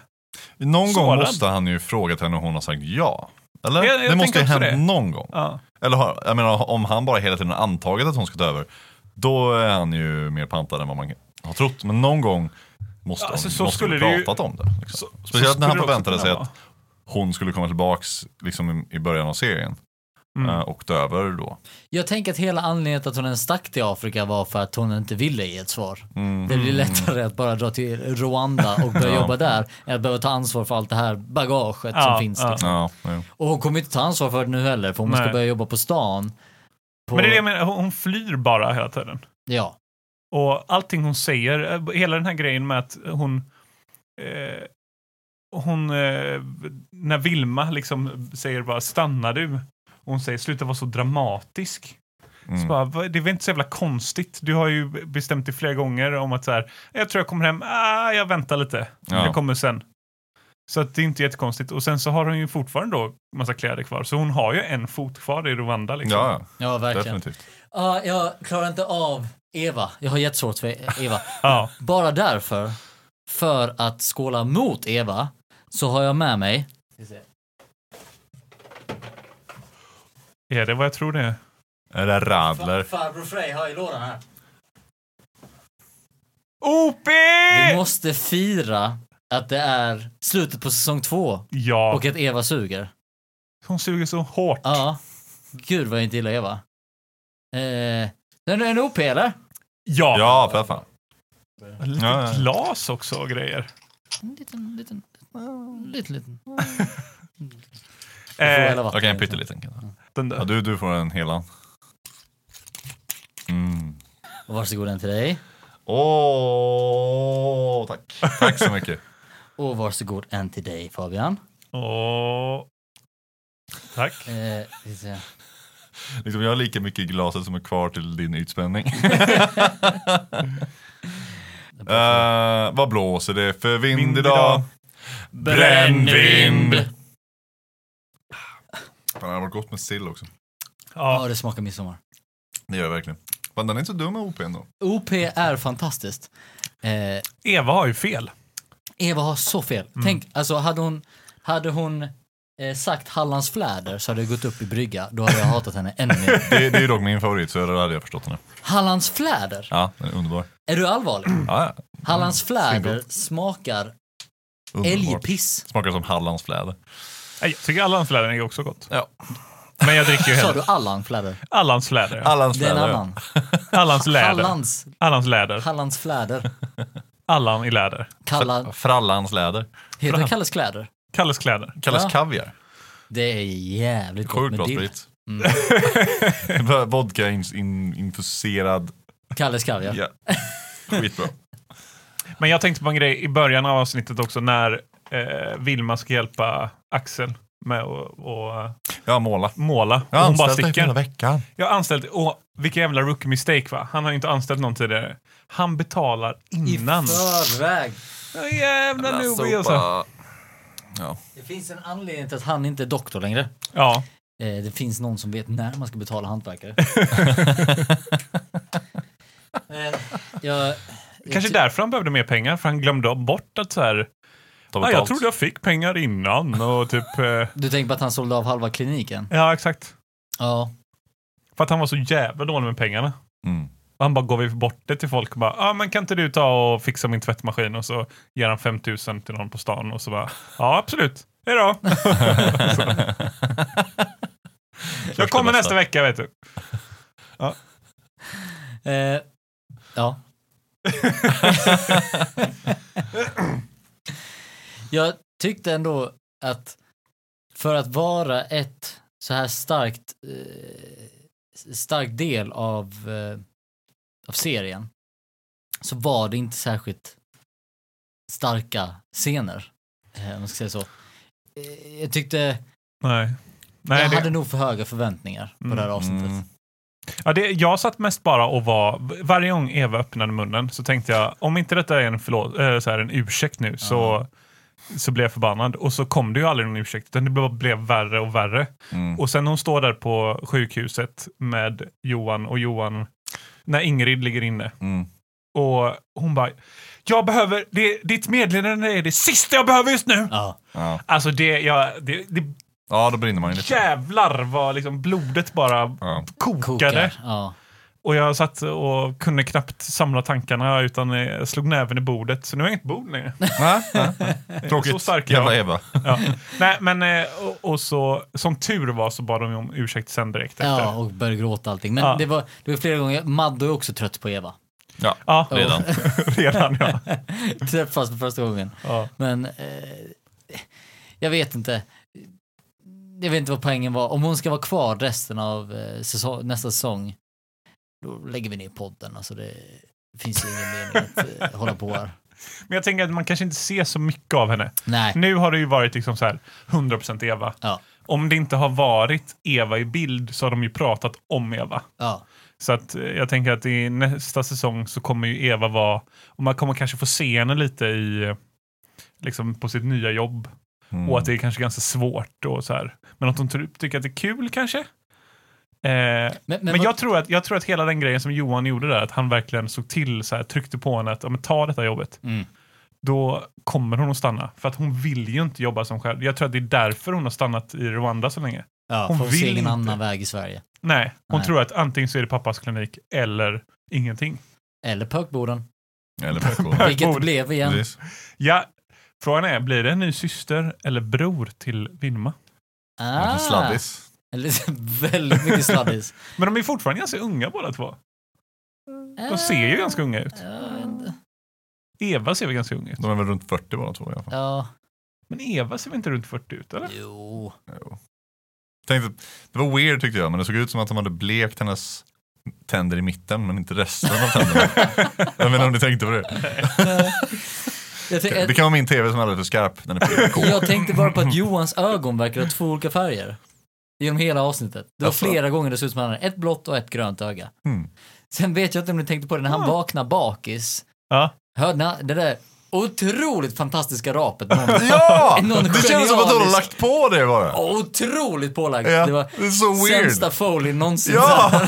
Speaker 2: Någon gång
Speaker 4: Sårad.
Speaker 2: måste han ju frågat henne och hon har sagt ja. Eller?
Speaker 4: Jag- jag
Speaker 2: det måste
Speaker 4: tänker
Speaker 2: ju
Speaker 4: också
Speaker 2: hänt
Speaker 4: det.
Speaker 2: någon gång.
Speaker 4: Ja.
Speaker 2: Eller har, jag menar, om han bara hela tiden har antagit att hon ska ta över, då är han ju mer pantad än vad man har trott. Men någon gång måste
Speaker 4: Ja, alltså,
Speaker 2: hon
Speaker 4: så
Speaker 2: måste hon
Speaker 4: skulle det ju-
Speaker 2: pratat om det. Liksom.
Speaker 4: Så-
Speaker 2: Speciellt
Speaker 4: så
Speaker 2: när han
Speaker 4: skulle det också
Speaker 2: förväntade sig
Speaker 4: kunna
Speaker 2: att hon skulle komma tillbaks liksom, i början av serien
Speaker 4: Mm.
Speaker 2: eh, och ta över då.
Speaker 3: Jag tänker att hela anledningen till att hon ens stack till Afrika var för att hon inte ville ge ett svar.
Speaker 2: Mm.
Speaker 3: Det
Speaker 4: Mm.
Speaker 3: blir lättare att bara dra till Rwanda och börja
Speaker 2: Ja.
Speaker 3: jobba där än att behöva ta ansvar för allt det här bagaget
Speaker 4: Ja,
Speaker 3: som finns.
Speaker 4: ja.
Speaker 3: Liksom.
Speaker 2: Ja, Mm. jo.
Speaker 3: Och hon kommer inte ta ansvar för det nu heller för hon ska
Speaker 4: Nej.
Speaker 3: börja jobba på stan. På,
Speaker 4: Men det är det jag menar, hon hon flyr bara hela tiden.
Speaker 3: Ja,
Speaker 4: Och allting hon säger, eh, hela den här grejen med att hon... Eh, hon eh, när Vilma liksom säger bara stanna du. Och hon säger sluta vara så dramatisk. Så
Speaker 2: Mm.
Speaker 4: bara, "Vad- det är väl inte så jävla konstigt. Du har ju bestämt dig flera gånger om att så här, jag tror jag kommer hem, ah, jag väntar lite,
Speaker 2: Ja.
Speaker 4: jag kommer sen. Så att det är inte jättekonstigt. Och sen så har hon ju fortfarande då massa kläder kvar. Så hon har ju en fot kvar i Rwanda liksom.
Speaker 2: Ja,
Speaker 3: Ja,
Speaker 2: ja,
Speaker 3: verkligen.
Speaker 2: definitivt.
Speaker 3: Ja, jag klarar inte av Eva. Jag har jättesvårt för Eva.
Speaker 4: Ja.
Speaker 3: Bara därför, för att skåla mot Eva, så har jag med mig...
Speaker 4: Är det vad jag tror det är?
Speaker 2: Är det radler?
Speaker 3: Farbror Frey har i lådan här.
Speaker 4: OP!
Speaker 2: Eh!
Speaker 3: Vi måste fira att det är slutet på säsong två
Speaker 4: Ja,
Speaker 3: och att Eva suger.
Speaker 4: hon suger så hårt.
Speaker 3: Ja. Gud vad jag inte gillar Eva. Eh, den är en OP eller?
Speaker 4: Ja,
Speaker 2: Ja, för fan.
Speaker 4: lite
Speaker 2: Ja, ja.
Speaker 4: glas också och grejer.
Speaker 3: En liten, liten,
Speaker 2: Mm.
Speaker 3: liten, liten. Du får
Speaker 4: Eh,
Speaker 3: hela vattnet.
Speaker 2: Okej, en pytteliten. kan jag.
Speaker 4: den
Speaker 2: Ja,
Speaker 4: där.
Speaker 2: du, du får en helan. Mm.
Speaker 3: Och Varsågod den till dig.
Speaker 2: Åh, tack. Tack så mycket.
Speaker 3: Och varsågod en till dig Fabian.
Speaker 4: Åh. Tack.
Speaker 3: Eh, vi ser.
Speaker 2: Liksom, jag har lika mycket i glaset som är kvar till din ytspänning. Eh, vad blåser det för vind,
Speaker 4: Vind
Speaker 2: idag?
Speaker 4: idag.
Speaker 2: Brännvind! Fan, det hade varit gott med sill också.
Speaker 3: Ja,
Speaker 4: Ja.
Speaker 3: det smakar midsommar.
Speaker 2: Det gör jag verkligen. Fan, den är inte så dum med OP ändå.
Speaker 3: OP är fantastiskt. Eh,
Speaker 4: Eva har ju fel.
Speaker 3: Eva har så fel.
Speaker 2: Mm.
Speaker 3: Tänk, alltså hade hon, hade hon eh, sagt Hallands fläder så hade jag gått upp i brygga. Då hade jag hatat henne ännu mer.
Speaker 2: Det, det är ju dock min favorit, så det hade jag förstått den. här.
Speaker 3: Hallands fläder?
Speaker 2: Ja, den är underbar.
Speaker 3: Är du allvarlig?
Speaker 2: Ja, ja.
Speaker 3: Hallands fläder smakar
Speaker 2: underbar.
Speaker 3: älgpiss.
Speaker 2: Smakar som Hallands fläder.
Speaker 4: Nej, Jag tycker Allans fläder är också gott.
Speaker 2: Ja.
Speaker 4: Men jag dricker ju
Speaker 3: Sa
Speaker 4: hellre
Speaker 3: du Allan fläder?
Speaker 4: Allans fläder. ja.
Speaker 2: Hallands
Speaker 3: Det är en
Speaker 2: fläder. ja.
Speaker 3: annan.
Speaker 4: Allans läder.
Speaker 3: Hallands,
Speaker 4: Allans läder.
Speaker 3: Hallands fläder.
Speaker 4: Allan i läder.
Speaker 3: Kalla,
Speaker 2: Frallans läder.
Speaker 3: heter det Kalles kläder?
Speaker 4: Kalles kläder.
Speaker 2: Kallas
Speaker 3: Ja.
Speaker 2: kaviar.
Speaker 3: Det är jävligt gott
Speaker 2: Sjukt
Speaker 3: med
Speaker 2: bra
Speaker 3: dill. Mm.
Speaker 2: sprit. Vodka in, in, infuserad.
Speaker 3: Kalles kaviar.
Speaker 2: Ja. Skitbra.
Speaker 4: Men jag tänkte på en grej i början av avsnittet också när eh, Vilma ska hjälpa Axel med att och, eh,
Speaker 2: Ja, måla.
Speaker 4: måla.
Speaker 2: Jag
Speaker 4: och
Speaker 2: har
Speaker 4: hon bara
Speaker 2: anställt dig för hela
Speaker 4: sticker.
Speaker 2: veckan.
Speaker 4: Jag har anställt, och vilka jävla rookie mistake va? Han har ju inte anställt någon tidigare. Han betalar
Speaker 3: I
Speaker 4: innan.
Speaker 3: förväg.
Speaker 4: Ja, Jävla newbie alltså.
Speaker 3: Det finns en anledning till att han inte är doktor längre.
Speaker 4: Ja.
Speaker 3: Eh, det finns någon som vet när man ska betala hantverkare. Men Eh, jag, jag
Speaker 4: Kanske
Speaker 3: ty-
Speaker 4: därför han behövde mer pengar, för han glömde bort att så här,
Speaker 2: Ta
Speaker 4: ah, jag
Speaker 2: betalt.
Speaker 4: trodde jag fick pengar innan och typ... Eh,
Speaker 3: Du tänker på att han sålde av halva kliniken?
Speaker 4: ja, exakt.
Speaker 3: Ja.
Speaker 4: För att han var så jävla dålig med pengarna.
Speaker 2: Mm.
Speaker 4: Och han bara gav bort det till folk och bara, ah, men kan inte du ta och fixa min tvättmaskin? Och så ger han 5000 till någon på stan och så bara, ja absolut, hejdå. jag kommer nästa vecka vet du.
Speaker 3: Eh, ja. jag tyckte ändå att för att vara ett så här starkt eh, stark del av, eh, av serien så var det inte särskilt starka scener. Eh, om man ska säga så. Eh, jag tyckte,
Speaker 4: Nej. Nej,
Speaker 3: jag
Speaker 4: det,
Speaker 3: hade nog för höga förväntningar på det här avsnittet.
Speaker 2: Mm.
Speaker 4: ja, det, jag satt mest bara och var, varje gång Eva öppnade munnen så tänkte jag, om inte detta är en, förlåt, eh, så här, en ursäkt nu så, så blev jag förbannad. Och så kom det ju aldrig någon ursäkt, utan det bara blev värre och värre.
Speaker 2: Mm.
Speaker 4: Och sen hon står där på sjukhuset med Johan och Johan, när Ingrid ligger inne.
Speaker 2: Mm.
Speaker 4: Och hon bara, jag behöver, det, ditt meddelande är det sista jag behöver just nu.
Speaker 3: Ja.
Speaker 2: Ja.
Speaker 4: Alltså det, jag, det, det
Speaker 2: ja, då brinner man ju lite.
Speaker 4: jävlar vad liksom blodet bara
Speaker 2: Ja.
Speaker 4: kokade.
Speaker 3: Kokar. Ja.
Speaker 4: Och jag satt och kunde knappt samla tankarna utan eh, slog näven i bordet. Så nu har jag inget bord längre.
Speaker 2: Nej, nej, nej. Tråkigt.
Speaker 4: Så stark
Speaker 2: Jävla
Speaker 4: jag.
Speaker 2: Eva.
Speaker 4: Ja. Nej men, eh, och, och så, som tur var så bad de ju om ursäkt sen direkt efter.
Speaker 3: Ja, och började gråta och allting. Men
Speaker 4: Ja.
Speaker 3: det, var, det var flera gånger, Maddo är också trött på Eva.
Speaker 2: Ja,
Speaker 4: Ja.
Speaker 2: redan.
Speaker 4: Redan ja.
Speaker 3: Träffas för första gången.
Speaker 4: ja.
Speaker 3: Men eh, jag vet inte. Jag vet inte vad poängen var. Om hon ska vara kvar resten av eh, säsong, nästa säsong, då lägger vi ner podden. Alltså det finns ju ingen mening att eh, hålla på här.
Speaker 4: Men jag tänker att man kanske inte ser så mycket av henne.
Speaker 3: Nej.
Speaker 4: Nu har det ju varit liksom så här 100% Eva.
Speaker 3: Ja.
Speaker 4: om det inte har varit Eva i bild så har de ju pratat om Eva.
Speaker 3: Ja.
Speaker 4: Så att eh, jag tänker att i nästa säsong så kommer ju Eva vara, och man kommer kanske få se henne lite i, eh, liksom på sitt nya jobb.
Speaker 2: Mm.
Speaker 4: Och att det är kanske ganska svårt och så här. Men att de tror- tycker att det är kul kanske. Eh, men
Speaker 3: Men, men, vad-
Speaker 4: jag, tror att, jag tror att hela den grejen som Johan gjorde där, att han verkligen såg till, så här, tryckte på henne att ja, men ta detta jobbet.
Speaker 3: Mm.
Speaker 4: Då kommer hon att stanna. För att hon vill ju inte jobba som själv. Jag tror att det är därför hon har stannat i Rwanda så länge.
Speaker 3: ja,
Speaker 4: hon
Speaker 3: hon vill
Speaker 4: vill
Speaker 3: ingen
Speaker 4: inte.
Speaker 3: annan väg i Sverige.
Speaker 4: Nej, hon
Speaker 3: Nej.
Speaker 4: tror att antingen så är det pappas klinik eller ingenting.
Speaker 3: Eller pökboden.
Speaker 2: Eller PK.
Speaker 3: Vilket
Speaker 4: Pökbod.
Speaker 3: blev igen.
Speaker 2: Precis.
Speaker 4: Ja, frågan är, blir det en ny syster eller bror till Vilma?
Speaker 3: Ah,
Speaker 2: Ah. Sladdis.
Speaker 3: Eller- väldigt mycket sladdis.
Speaker 4: Men de är fortfarande ganska unga båda två. De ser ju ganska unga ut.
Speaker 3: Ja,
Speaker 4: Eva ser väl ganska ung ut?
Speaker 2: De är väl runt 40 båda två i alla fall.
Speaker 3: Ja,
Speaker 4: Men Eva ser väl inte runt 40 ut eller?
Speaker 3: jo.
Speaker 2: Jo. Tänkte, det var weird tyckte jag, men det såg ut som att de hade blekt hennes tänder i mitten men inte resten av tänderna. jag menar om ni tänkte på det.
Speaker 4: Eh.
Speaker 3: Jag, tänk-
Speaker 2: Det kan vara min tv som är alldeles för skarp. Den är PK.
Speaker 3: jag tänkte bara på att Johans ögon verkar ha två olika färger. Genom hela avsnittet. Det var
Speaker 2: Jaså?
Speaker 3: flera gånger det såg ut som att han hade ett blått och ett grönt öga.
Speaker 2: Alltså- Mm.
Speaker 3: Sen vet jag inte om ni tänkte på det när han
Speaker 4: Ja.
Speaker 3: vaknar bakis.
Speaker 4: Ja.
Speaker 3: Hörde ni det där otroligt fantastiska rapet? Någon,
Speaker 2: Ja!
Speaker 3: Någon
Speaker 2: Det känns som att de har
Speaker 3: genialisk-
Speaker 2: lagt på det bara.
Speaker 3: Otroligt pålagt.
Speaker 2: Ja,
Speaker 3: Det var
Speaker 2: det är så weird.
Speaker 3: sämsta foley någonsin.
Speaker 2: Ja!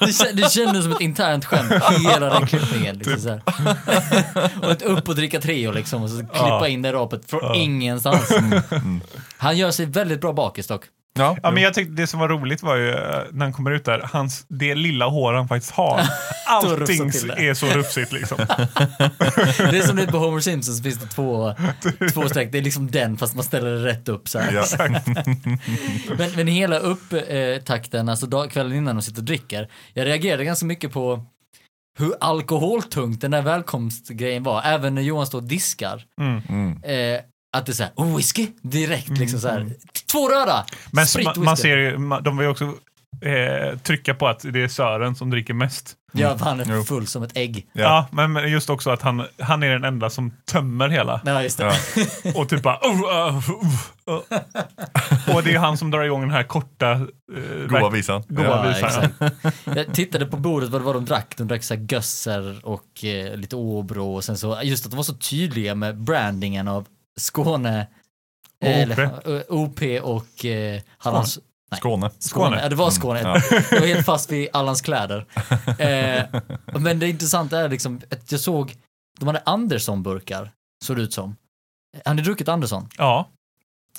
Speaker 3: Det, kä- det kändes som ett internt skämt, hela den klippningen.
Speaker 4: Typ.
Speaker 3: Liksom så här. och ett upp och dricka Treo liksom och så klippa
Speaker 4: Ja. Mm.
Speaker 3: in det rapet från ingenstans. Mm. Han gör sig väldigt bra bakis dock.
Speaker 2: Ja.
Speaker 4: Ja, men jag tyckte det som var roligt var ju eh, när han kommer ut där, hans, det lilla hår han faktiskt har. Allting
Speaker 3: rufsat till det.
Speaker 4: är så rufsigt liksom.
Speaker 3: Det är som lite på Homer Simpsons finns det två, två streck. Det är liksom den fast man ställer det rätt upp så här.
Speaker 2: Ja.
Speaker 3: Men, men hela upptakten, alltså dag, kvällen innan de sitter och dricker. Jag reagerade ganska mycket på hur alkoholtungt den där välkomstgrejen var. Även när Johan står och diskar.
Speaker 4: Mm.
Speaker 3: Eh, att det är såhär, oh, whisky, direkt liksom så här. Två röda!
Speaker 4: Mm. Men
Speaker 3: Sprit,
Speaker 4: man, man
Speaker 3: whisky."
Speaker 4: ser ju, ma- de vill ju också eh, trycka på att det är Sören som dricker mest.
Speaker 3: Ja, för han är
Speaker 2: Jo.
Speaker 3: full som ett ägg.
Speaker 2: Ja.
Speaker 4: Ja, men, men just också att han, han är den enda som tömmer hela.
Speaker 3: Ja, just det.
Speaker 2: Ja.
Speaker 4: Och typ bara... "Oh, oh, oh, oh." Och det är han som drar igång den här korta... Eh,
Speaker 2: Goa visan.
Speaker 4: Goa
Speaker 2: Ja.
Speaker 3: Ja,
Speaker 4: visar han.
Speaker 3: exakt. Jag tittade på bordet vad det var de drack. De drack så här gösser och eh, lite Åbro och sen så just att de var så tydliga med brandingen av Skåne.
Speaker 4: Och
Speaker 3: eh,
Speaker 4: OP.
Speaker 3: eh, OP och eh, Hallands... Nej,
Speaker 2: Skåne.
Speaker 3: Skåne. Ja, det var Skåne.
Speaker 2: Ja.
Speaker 3: Jag var helt fast vid Allans kläder. Eh, men det intressanta är liksom att jag såg, de hade Andersson-burkar, såg det ut som. Hade ni druckit Andersson?
Speaker 4: Ja,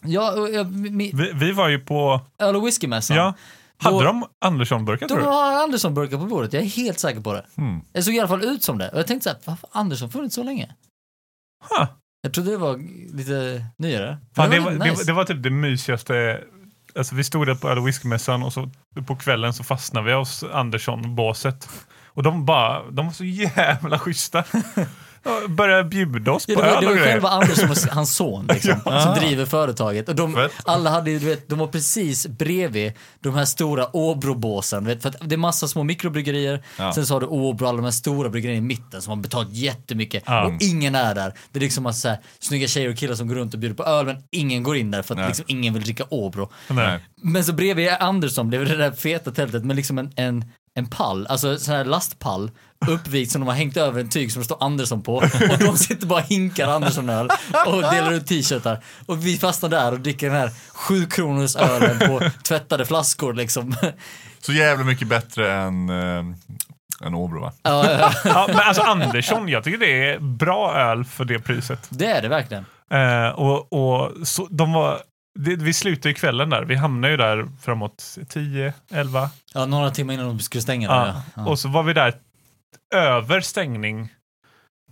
Speaker 3: Ja, och jag- mi-
Speaker 4: vi, vi var ju på...
Speaker 3: öl och whiskymässan.
Speaker 4: Ja. Hade
Speaker 3: Då-
Speaker 4: de Andersson-burkar tror
Speaker 3: De
Speaker 4: du?
Speaker 3: har Andersson-burkar på bordet, jag är helt säker på det.
Speaker 2: Mm.
Speaker 3: Det såg i alla fall ut som det. Och jag tänkte så här, varför har Andersson funnits så länge?
Speaker 4: Huh.
Speaker 3: Jag trodde det var lite nyare.
Speaker 4: Fan, det,
Speaker 3: Men
Speaker 4: var,
Speaker 3: väldigt
Speaker 4: det, var- det var typ det mysigaste. Alltså, vi stod där på öl och whiskymässan och så på kvällen så fastnade vi hos Andersson-båset. Och de bara, de var så jävla schyssta. De Började bjuda oss
Speaker 3: Ja,
Speaker 4: på
Speaker 3: det var,
Speaker 4: öl
Speaker 3: det
Speaker 4: och
Speaker 3: var
Speaker 4: grejer.
Speaker 3: själva Andersson och hans son liksom, som driver företaget. Och de,
Speaker 2: Fett.
Speaker 3: alla hade ju, du vet, de var precis bredvid de här stora Åbrobåsen. du Vet, för att det är massa små mikrobryggerier,
Speaker 2: Ja.
Speaker 3: sen så har du Åbro, alla de här stora bryggerierna i mitten som har betalat jättemycket
Speaker 4: Ja.
Speaker 3: och ingen är där. Det är liksom massa så här, snygga tjejer och killar som går runt och bjuder på öl men ingen går in där för att
Speaker 2: Nej.
Speaker 3: liksom, ingen vill dricka Åbro.
Speaker 4: Nej.
Speaker 3: Men så bredvid Andersson blev det där feta tältet med liksom en, en, en pall, alltså sån här lastpall uppvikt som de har hängt över en tyg som det står Andersson på och de sitter bara och hinkar Andersson-öl och delar ut t-shirtar och vi fastnar där och dricker den här 7 kronors ölen på tvättade flaskor liksom.
Speaker 2: Så jävla mycket bättre än, eh, än Åbro va?
Speaker 3: Ja, ja, ja.
Speaker 4: Ja, men alltså Andersson, jag tycker det är bra öl för det priset.
Speaker 3: det är det verkligen.
Speaker 4: Eh, och och så, de var, det, vi slutade ju kvällen där. Vi hamnade ju där framåt 10, 11.
Speaker 3: Ja, några timmar innan de skulle stänga
Speaker 4: Ja.
Speaker 3: det. Ja. Ja.
Speaker 4: Och så var vi där över stängning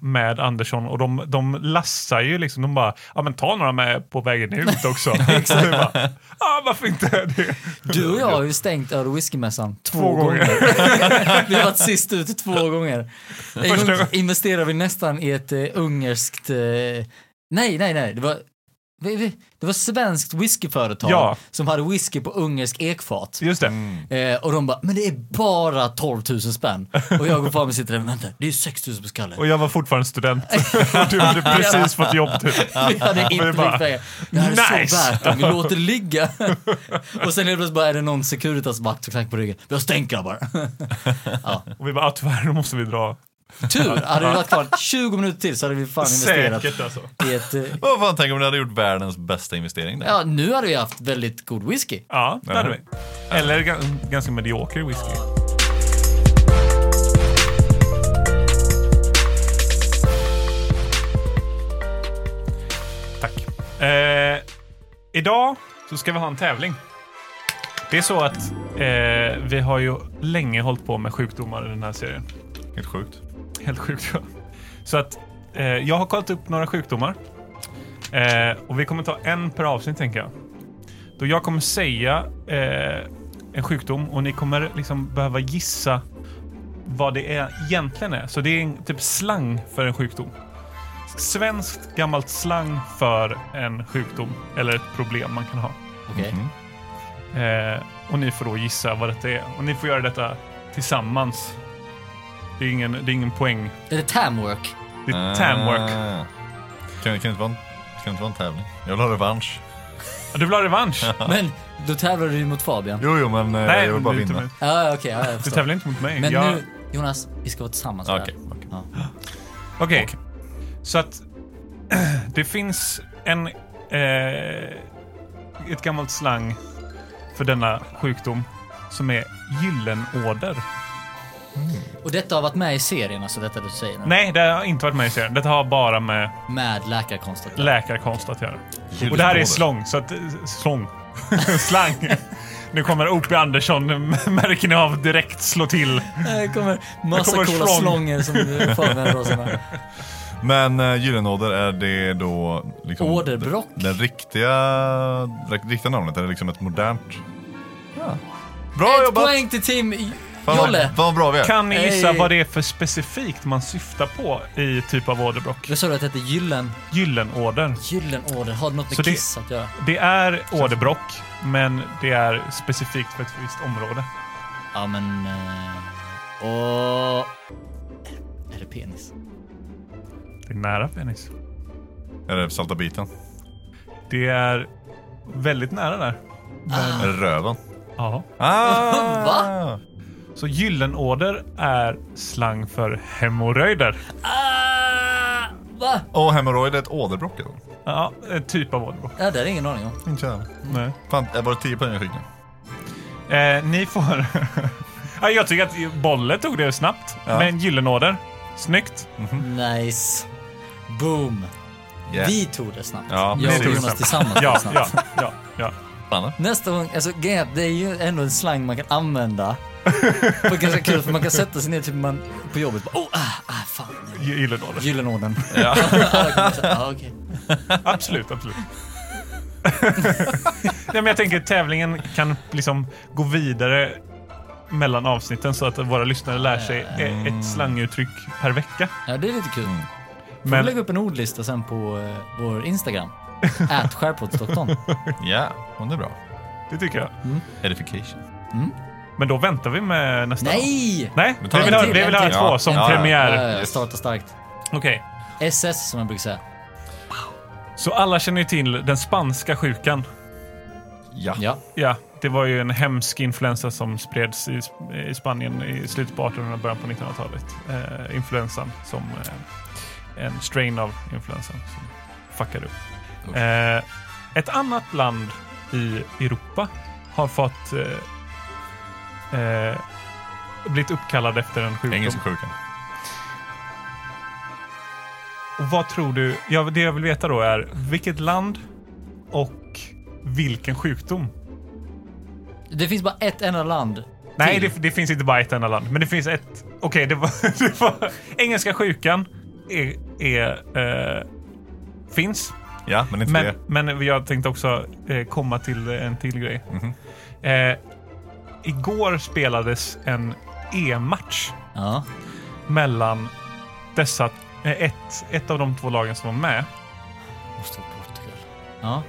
Speaker 4: med Andersson och de, de lassar ju liksom, de bara, ja men ta några med på vägen ut också. Exakt. bara, ja varför inte? Det,
Speaker 3: Du och jag har ju stängt öl och whiskymässan två,
Speaker 4: Två gånger.
Speaker 3: gånger. vi har varit sist ut två gånger. En gång
Speaker 4: Första gången.
Speaker 3: investerade vi nästan i ett eh, ungerskt... Eh, nej, nej, nej. Det var vi- vi- Det var ett svenskt whiskyföretag
Speaker 4: Ja.
Speaker 3: som hade whisky på ungersk ekfat.
Speaker 4: Just det.
Speaker 3: Eh, och de bara, men det är bara 12 000 spänn. Och jag går fram och sitter där, men vänta, det är ju 6 000 på skallen.
Speaker 4: Och jag var fortfarande student. Och du hade precis fått jobb typ.
Speaker 3: Vi hade
Speaker 4: Och
Speaker 3: inte
Speaker 4: det bara,
Speaker 3: mycket pengar. Det här är
Speaker 4: nice.
Speaker 3: så värt det, vi låter ligga. och sen helt plötsligt bara är det någon Securitas-vakt som knackar på ryggen. Vi har stängt grabbar.
Speaker 4: Och vi bara, ah, tyvärr, nu måste vi dra.
Speaker 3: Tur, hade vi varit kvar 20 minuter till så hade vi fan investerat
Speaker 4: Säkert alltså.
Speaker 3: i ett... eh,
Speaker 2: Vad fan, tänk om ni hade gjort världens bästa investering där.
Speaker 3: Ja, nu hade vi haft väldigt god whisky.
Speaker 4: Ja, det hade vi. Eller ga- ganska medioker whisky. Tack. Eh, idag så ska vi ha en tävling. Det är så att eh, vi har ju länge hållit på med sjukdomar i den här serien.
Speaker 2: Helt sjukt.
Speaker 4: Helt sjukt ja. Så att eh, jag har kollat upp några sjukdomar. Eh, och vi kommer ta en per avsnitt tänker jag. Då jag kommer säga eh, en sjukdom och ni kommer liksom behöva gissa vad det är egentligen är. Så det är en typ slang för en sjukdom. Svenskt gammalt slang för en sjukdom eller ett problem man kan ha.
Speaker 3: Okej.
Speaker 4: Mhm. Eh, och ni får då gissa vad detta är. Och ni får göra detta tillsammans. Det är ingen, det är ingen poäng
Speaker 3: Är det tamwork?
Speaker 4: det är tamwork.
Speaker 2: Ah. Kan, kan, det inte vara en, kan det inte vara en tävling? Jag vill ha revansch.
Speaker 4: Ja, Du vill ha revansch?
Speaker 3: Men då tävlar du ju mot Fabian.
Speaker 2: Jo, jo, men eh,
Speaker 4: Nej,
Speaker 2: jag vill bara
Speaker 4: du,
Speaker 2: vinna.
Speaker 3: Ja, ja, okej, ja, jag
Speaker 4: du
Speaker 3: förstår.
Speaker 4: tävlar inte mot mig.
Speaker 3: Men
Speaker 4: Jag-
Speaker 3: nu, Jonas, vi ska vara tillsammans
Speaker 2: Okej.
Speaker 3: med det
Speaker 2: okej.
Speaker 3: här. Ja.
Speaker 4: Okej. Så att det finns en... Eh, ett gammalt slang för denna sjukdom som är gyllenåder.
Speaker 3: Och detta har varit med i serien, alltså detta du säger nu?
Speaker 4: Nej, det har inte varit med i serien. Detta har bara med
Speaker 3: Med läkarkonst att göra.
Speaker 4: läkarkonst att göra. Och det här är
Speaker 2: Gyllenåder.
Speaker 4: slång, så att... eh, Slång. slang. Nu kommer O.P. Andersson, märker ni av, direkt slå till.
Speaker 3: Det kommer massa
Speaker 4: kommer
Speaker 3: coola
Speaker 4: slång.
Speaker 3: slånger som du förbereder oss med.
Speaker 2: Men uh, Gyllenåder, är det då... Liksom,
Speaker 3: Åderbråck.
Speaker 2: Den, den riktiga, det riktiga namnet? Är det liksom ett modernt... Ja. Bra
Speaker 3: Ett
Speaker 2: jobbat!
Speaker 3: poäng till team J-
Speaker 2: Fan,
Speaker 3: Jolle.
Speaker 2: Vad, vad bra vi är.
Speaker 4: Kan ni gissa
Speaker 3: Hej.
Speaker 4: vad det är för specifikt man syftar på i typ av åderbråck?
Speaker 3: Jag sa du att det hette Gyllen.
Speaker 4: Gyllenåder.
Speaker 3: Gyllenåder. Har det något med
Speaker 4: Så det-
Speaker 3: Kiss att göra?
Speaker 4: Det är åderbråck, men det är specifikt för ett visst område.
Speaker 3: Ja, men... eh, Och... Är det penis?
Speaker 4: Det är nära penis.
Speaker 2: Är det salta biten?
Speaker 4: Det är väldigt nära där.
Speaker 2: Är det röven?
Speaker 4: Ja.
Speaker 2: Ah!
Speaker 3: Va?
Speaker 4: Så gyllenåder är slang för hemorrojder.
Speaker 3: Ah! Va?
Speaker 2: Och hemorrojd är ett åderbråck eller?
Speaker 4: Ja, en typ av åderbråck.
Speaker 3: Ja, det är ingen aning om.
Speaker 2: Inte jag.
Speaker 4: Nej.
Speaker 2: Fan, det var det 10 poäng jag fick nu?
Speaker 4: Eh, ni får... ja, jag tycker att Bolle tog det snabbt, men gyllenåder. Snyggt.
Speaker 3: Nice. Boom.
Speaker 2: Yeah.
Speaker 3: Vi tog det snabbt.
Speaker 2: Ja,
Speaker 3: jag och
Speaker 2: precis.
Speaker 3: Jonas tillsammans tog
Speaker 4: Ja,
Speaker 3: det snabbt.
Speaker 4: ja, ja, ja.
Speaker 2: Fan,
Speaker 3: Nästa gång, alltså grejen är att det är ju ändå en slang man kan använda. Det är ganska kul för man kan sätta sig ner typ man, på jobbet och bara, oh, ah, ah, fan.
Speaker 4: Gyllenåder.
Speaker 3: Gyllenorden.
Speaker 2: Ja.
Speaker 3: ah, okay.
Speaker 4: Absolut, absolut. Nej, men jag tänker att tävlingen kan liksom gå vidare mellan avsnitten så att våra lyssnare lär sig e- ett slanguttryck per vecka.
Speaker 3: Ja, det är lite kul. Får
Speaker 4: Men-
Speaker 3: vi lägga upp en ordlista sen på eh, vår Instagram? Ät skärpoddsdoktorn.
Speaker 2: Ja, men det är bra.
Speaker 4: Det tycker jag.
Speaker 2: Edification.
Speaker 4: Men då väntar vi med nästa.
Speaker 3: Nej!
Speaker 4: Nej,
Speaker 2: Men
Speaker 4: vi
Speaker 2: ta
Speaker 4: vill
Speaker 2: en
Speaker 4: ha,
Speaker 2: till,
Speaker 4: vi vill
Speaker 3: en
Speaker 4: ha
Speaker 3: till.
Speaker 4: två
Speaker 2: Ja,
Speaker 4: som
Speaker 2: ja, ja.
Speaker 4: premiär.
Speaker 3: Ja, ja,
Speaker 2: Yes.
Speaker 3: starta starkt.
Speaker 4: Okej,
Speaker 3: SS som jag brukar säga.
Speaker 4: så alla känner ju till den spanska sjukan.
Speaker 2: Ja.
Speaker 3: Ja.
Speaker 4: Ja, det var ju en hemsk influensa som spreds i, i Spanien i slutet på 1800-talet och början på 1900-talet. Eh, influensan som eh, en strain av influensan som fuckade upp. Eh, ett annat land i Europa har fått eh, eh, blivit uppkallad efter en sjukdom.
Speaker 2: Engelska sjukan.
Speaker 4: Och vad tror du? Ja, det jag vill veta då är vilket land och vilken sjukdom?
Speaker 3: Det finns bara ett enda land.
Speaker 4: Nej,
Speaker 3: till.
Speaker 4: det, det finns inte bara ett enda land. Men det finns ett... Okej, det, var, det var... Engelska sjukan är, är, eh, finns.
Speaker 2: Ja, men inte
Speaker 4: Men,
Speaker 2: det.
Speaker 4: men jag tänkte också eh, komma till en till grej.
Speaker 2: Mhm.
Speaker 4: Eh, igår spelades en E-match
Speaker 3: Ja.
Speaker 4: mellan dessa... eh, Ett, ett av de två lagen som var med.
Speaker 3: Måste vara Portugal. Ja.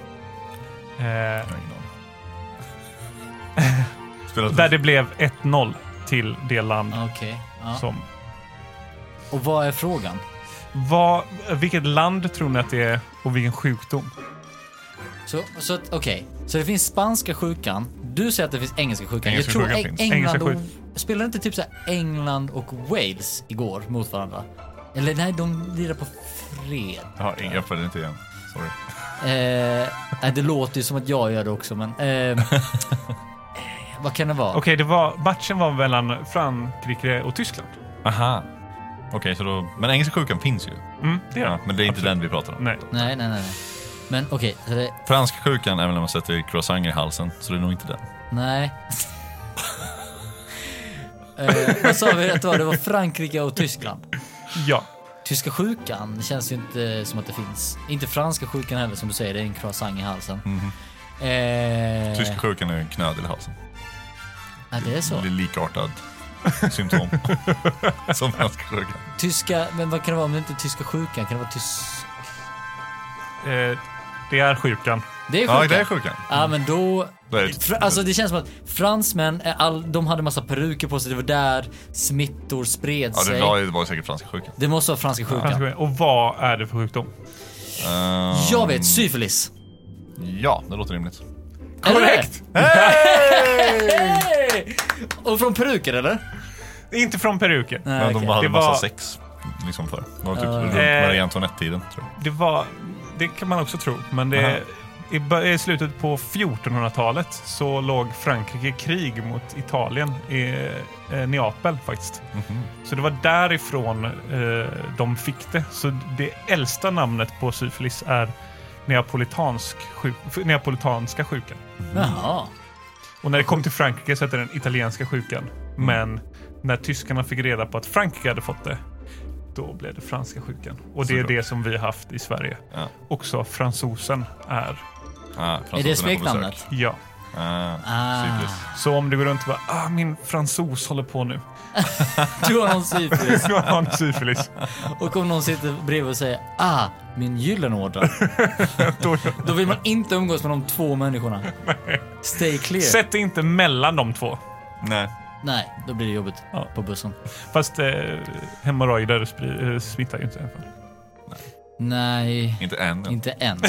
Speaker 4: Eh,
Speaker 2: Jag har ingen aning.
Speaker 4: där
Speaker 2: Spelat
Speaker 4: det blev 1-0 till det land
Speaker 3: Okej. Ja.
Speaker 4: som...
Speaker 3: Och vad är frågan?
Speaker 4: Vad, vilket land tror ni att det är och vilken sjukdom?
Speaker 3: Så, så att- okej, så det finns spanska sjukan. Du säger att det finns engelska sjukan.
Speaker 2: Engelska
Speaker 3: jag tror
Speaker 2: sjukan
Speaker 3: Eng-
Speaker 2: finns.
Speaker 3: England
Speaker 4: Engelska
Speaker 3: och, spelade inte typ så här England och Wales igår mot varandra? Eller nej, de lirar på fred.
Speaker 2: Ja, ingen- jag följde inte igen. Sorry.
Speaker 3: Eh, nej, det låter ju som att jag gör det också, men... Eh, eh, vad kan det vara?
Speaker 4: Okej, det var, matchen var mellan Frankrike och Tyskland.
Speaker 2: Aha. Okej, så då... Men engelska sjukan finns ju.
Speaker 4: Mm, det är
Speaker 2: Ja,
Speaker 4: det.
Speaker 2: men det är inte den vi pratar om.
Speaker 4: Nej.
Speaker 3: Nej, nej, nej. nej. Men okej, så det-
Speaker 2: Franska sjukan är väl när man sätter croissanter i halsen, så det är nog inte den.
Speaker 3: nej. eh, vad sa vi att det var? Det var Frankrike och Tyskland.
Speaker 4: Ja.
Speaker 3: Tyska sjukan känns ju inte som att det finns. Inte franska sjukan heller som du säger, det är en croissant i halsen. Eh,
Speaker 2: Mhm. Tyska sjukan är en knödel i halsen.
Speaker 3: Ja, det är så.
Speaker 2: Det är likartad symptom som franska sjukan.
Speaker 3: Tyska, men vad kan det vara om det inte är tyska sjukan? Kan det vara tysk...
Speaker 4: Eh, det är sjukan.
Speaker 3: Det är
Speaker 2: Ja,
Speaker 3: sjukan.
Speaker 2: det är sjukan.
Speaker 3: Ja, men då...
Speaker 2: Det är ett-
Speaker 3: Fra- Alltså det känns som att fransmän, är all, de hade massa peruker på sig, det var där smittor spred
Speaker 2: Ja,
Speaker 3: sig.
Speaker 2: det var, det var säkert franska sjukan.
Speaker 3: Det måste vara franska sjukan.
Speaker 4: Franska- Och vad är det för sjukdom?
Speaker 2: Ehm,
Speaker 3: Jag vet, syfilis.
Speaker 2: ja, det låter rimligt.
Speaker 3: Eller hur?
Speaker 4: Korrekt!
Speaker 3: Hey! Och från peruker eller?
Speaker 4: Det är Inte från peruker.
Speaker 3: Nej,
Speaker 2: Men
Speaker 3: okej.
Speaker 2: de hade
Speaker 4: Det
Speaker 2: massa
Speaker 4: var-
Speaker 2: sex liksom förr. Det var typ
Speaker 3: Ja, ja.
Speaker 2: runt
Speaker 4: Eh.
Speaker 2: Marie Antoinette-tiden, tror jag.
Speaker 4: Det var... Det kan man också tro, men det...
Speaker 2: Aha.
Speaker 4: I bör- I slutet på 1400-talet så låg Frankrike i krig mot Italien i eh, Neapel faktiskt.
Speaker 2: Mhm.
Speaker 4: Så det var därifrån eh, de fick det. Så det äldsta namnet på syfilis är neapolitansk sjuk- neapolitanska sjukan.
Speaker 3: Jaha.
Speaker 4: Och när det kom till Frankrike så hette den italienska sjukan. Men när tyskarna fick reda på att Frankrike hade fått det, då blev det franska sjukan. Och det är
Speaker 2: Såklart.
Speaker 4: det som vi har haft i Sverige.
Speaker 2: Ja.
Speaker 4: Också fransosen är,
Speaker 2: Ah,
Speaker 3: Är det
Speaker 2: fransoserna på besök.
Speaker 3: smeknamnet?
Speaker 4: ja.
Speaker 2: Ah,
Speaker 3: Ah.
Speaker 2: syfilis.
Speaker 4: Så om du går runt och bara ah, min fransos håller på nu.
Speaker 3: Du har någon syfilis.
Speaker 4: Nu har han syfilis.
Speaker 3: Och om någon sitter bredvid och säger ah, min gyllenådra.
Speaker 4: Då-
Speaker 3: Då vill man inte umgås med de två människorna. Stay clear.
Speaker 4: Sätt dig inte mellan de två.
Speaker 2: Nej.
Speaker 3: Nej, då blir det jobbigt
Speaker 4: Ja.
Speaker 3: på bussen.
Speaker 4: Fast eh, hemorrojder spri- eh, smittar ju inte i alla fall.
Speaker 3: Nej,
Speaker 2: Inte än.
Speaker 3: inte än.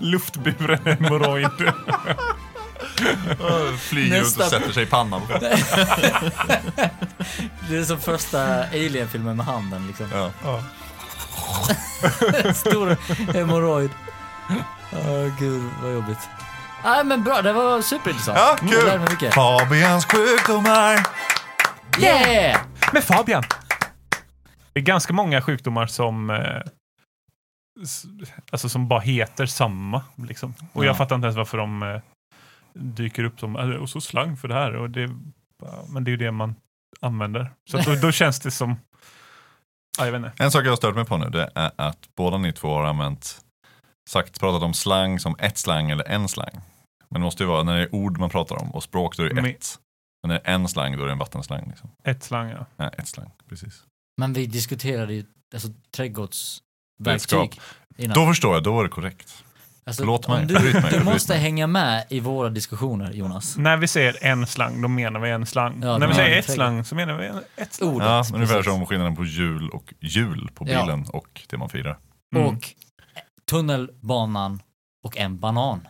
Speaker 4: Luftburen hemorrojd.
Speaker 2: Flyger ut
Speaker 3: Nästa-
Speaker 2: och sätter sig i pannan på folk.
Speaker 3: Det är som första Alien-filmen med handen liksom.
Speaker 2: Ja.
Speaker 4: ja.
Speaker 3: Stor hemorrojd. Åh gud, vad jobbigt. Nej men bra, det var superintressant.
Speaker 2: Ja,
Speaker 3: Jag lärde
Speaker 2: kul!
Speaker 3: mig mycket.
Speaker 2: Fabians sjukdomar!
Speaker 3: Yeah!
Speaker 4: Med Fabian! Det är ganska många sjukdomar som eh, s- alltså som bara heter samma. Liksom. Och
Speaker 3: Ja.
Speaker 4: jag fattar inte ens varför de eh, dyker upp som, "Äh, och så slang för det här. Och det, bara- men det är ju det man använder. Så att då, då känns det som, ja, jag vet inte.
Speaker 2: En sak jag har stört mig på nu det är att båda ni två har använt, sagt, pratat om slang som ett slang eller en slang. Men det måste ju vara när det är ord man pratar om och språk då är det
Speaker 4: Men-
Speaker 2: ett. Men när det är en slang då är det en vattenslang. Liksom.
Speaker 4: Ett slang ja.
Speaker 2: Nej, ett slang, precis.
Speaker 3: Men vi diskuterade ju alltså, trädgårdsverktyg. Innan.
Speaker 2: Då förstår jag, då är det korrekt.
Speaker 3: alltså,
Speaker 2: förlåt
Speaker 3: om
Speaker 2: mig,
Speaker 3: Du,
Speaker 2: bryt mig,
Speaker 3: du
Speaker 2: bryt
Speaker 3: måste
Speaker 2: mig.
Speaker 3: hänga med i våra diskussioner Jonas.
Speaker 4: När vi säger en slang, då menar vi en slang.
Speaker 3: Ja,
Speaker 4: När vi
Speaker 3: det
Speaker 4: säger
Speaker 3: är
Speaker 4: ett
Speaker 3: säkert.
Speaker 4: slang, så menar vi en, ett slang.
Speaker 3: Ordet.
Speaker 2: Ja, ungefär
Speaker 3: precis.
Speaker 2: som skillnaden på jul och jul på
Speaker 3: Ja.
Speaker 2: bilen och det man firar.
Speaker 4: Mm.
Speaker 3: Och tunnelbanan och en banan.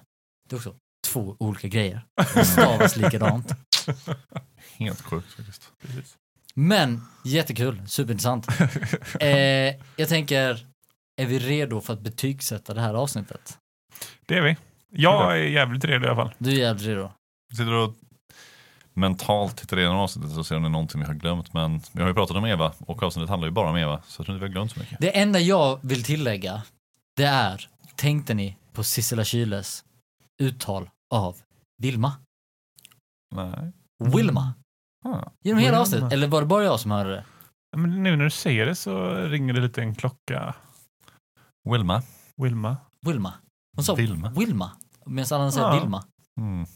Speaker 3: Det är också två olika grejer. Det stavas
Speaker 2: Mm.
Speaker 3: likadant.
Speaker 2: Helt sjukt faktiskt.
Speaker 3: Men jättekul, superintressant. eh, jag tänker, är vi redo för att betygsätta det här avsnittet?
Speaker 4: Det är vi. Jag är jävligt redo i alla fall.
Speaker 3: Du är jävligt redo.
Speaker 2: Sitter och mentalt tittar igenom avsnittet och ser om det är någonting vi har glömt. Men vi har ju pratat om Eva och avsnittet handlar ju bara om Eva. Så jag tror inte vi har glömt så mycket.
Speaker 3: Det enda jag vill tillägga, det är, tänkte ni på Sissela Kyles uttal av Vilma?
Speaker 2: Nej.
Speaker 3: Wilma?
Speaker 2: Ah.
Speaker 3: Genom hela
Speaker 4: Wilma.
Speaker 3: avsnittet? Eller var det bara jag som hörde det?
Speaker 4: Ja, Men nu när du säger det så ringer det lite en klocka.
Speaker 2: Wilma.
Speaker 4: Wilma.
Speaker 3: Wilma? Hon sa Wilma,
Speaker 2: Wilma.
Speaker 3: medan alla andra säger
Speaker 4: Ja.
Speaker 3: Vilma.
Speaker 2: Mm.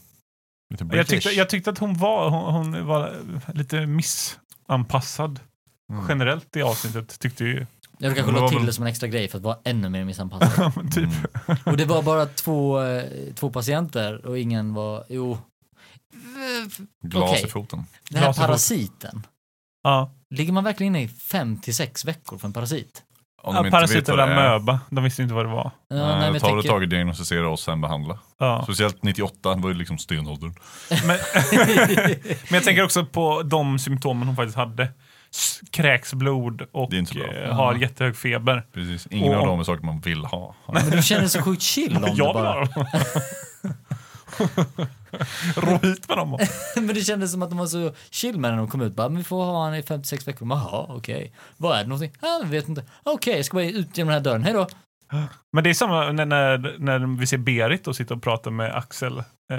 Speaker 2: Lite
Speaker 4: Jag
Speaker 2: British.
Speaker 4: tyckte, jag tyckte att hon var, hon, hon var lite missanpassad
Speaker 2: Mm.
Speaker 4: generellt i avsnittet. Tyckte ju
Speaker 3: Jag kanske
Speaker 4: Men det
Speaker 3: la
Speaker 4: var
Speaker 3: till
Speaker 4: väl-
Speaker 3: det som en extra grej för att vara ännu mer missanpassad.
Speaker 4: Ja, men typ.
Speaker 2: Mm.
Speaker 3: och det var bara två, eh, två patienter och ingen var, jo.
Speaker 2: Glas
Speaker 3: Okej.
Speaker 2: i foten.
Speaker 3: Den här
Speaker 4: Laserfot.
Speaker 3: parasiten,
Speaker 4: Ja.
Speaker 3: ligger man verkligen inne i fem till sex veckor för en parasit?
Speaker 2: Om de
Speaker 4: Ja,
Speaker 2: inte vet
Speaker 4: Parasit
Speaker 2: vad det
Speaker 4: eller
Speaker 2: är.
Speaker 4: amöba. De visste inte vad det var.
Speaker 3: Ja,
Speaker 2: Nej,
Speaker 3: men
Speaker 2: det tar ett tag att diagnostisera och sen behandla.
Speaker 4: Ja.
Speaker 2: Speciellt 98, det var ju liksom stenåldern.
Speaker 4: Men, men jag tänker också på de symptomen hon faktiskt hade. S- Kräks blod och
Speaker 2: Det är inte så bra.
Speaker 4: eh, har jättehög feber.
Speaker 2: Precis. Ingen
Speaker 4: Och-
Speaker 2: av dem är saker man vill ha.
Speaker 3: Men du känner så sjukt chill om det
Speaker 4: Jag vill
Speaker 3: bara.
Speaker 4: ha dem. Rå hit med dem.
Speaker 3: Men det kändes som att de var så chill med när de kom ut. Bara, men vi får ha han i 56 veckor. Men, Jaha, okej. Vad är det någonting? Ja, jag vet inte. Okej, jag ska bara ut genom den här dörren. Hej då.
Speaker 4: Men det är samma när, när, när vi ser Berit och sitta och prata med Axel. Eh,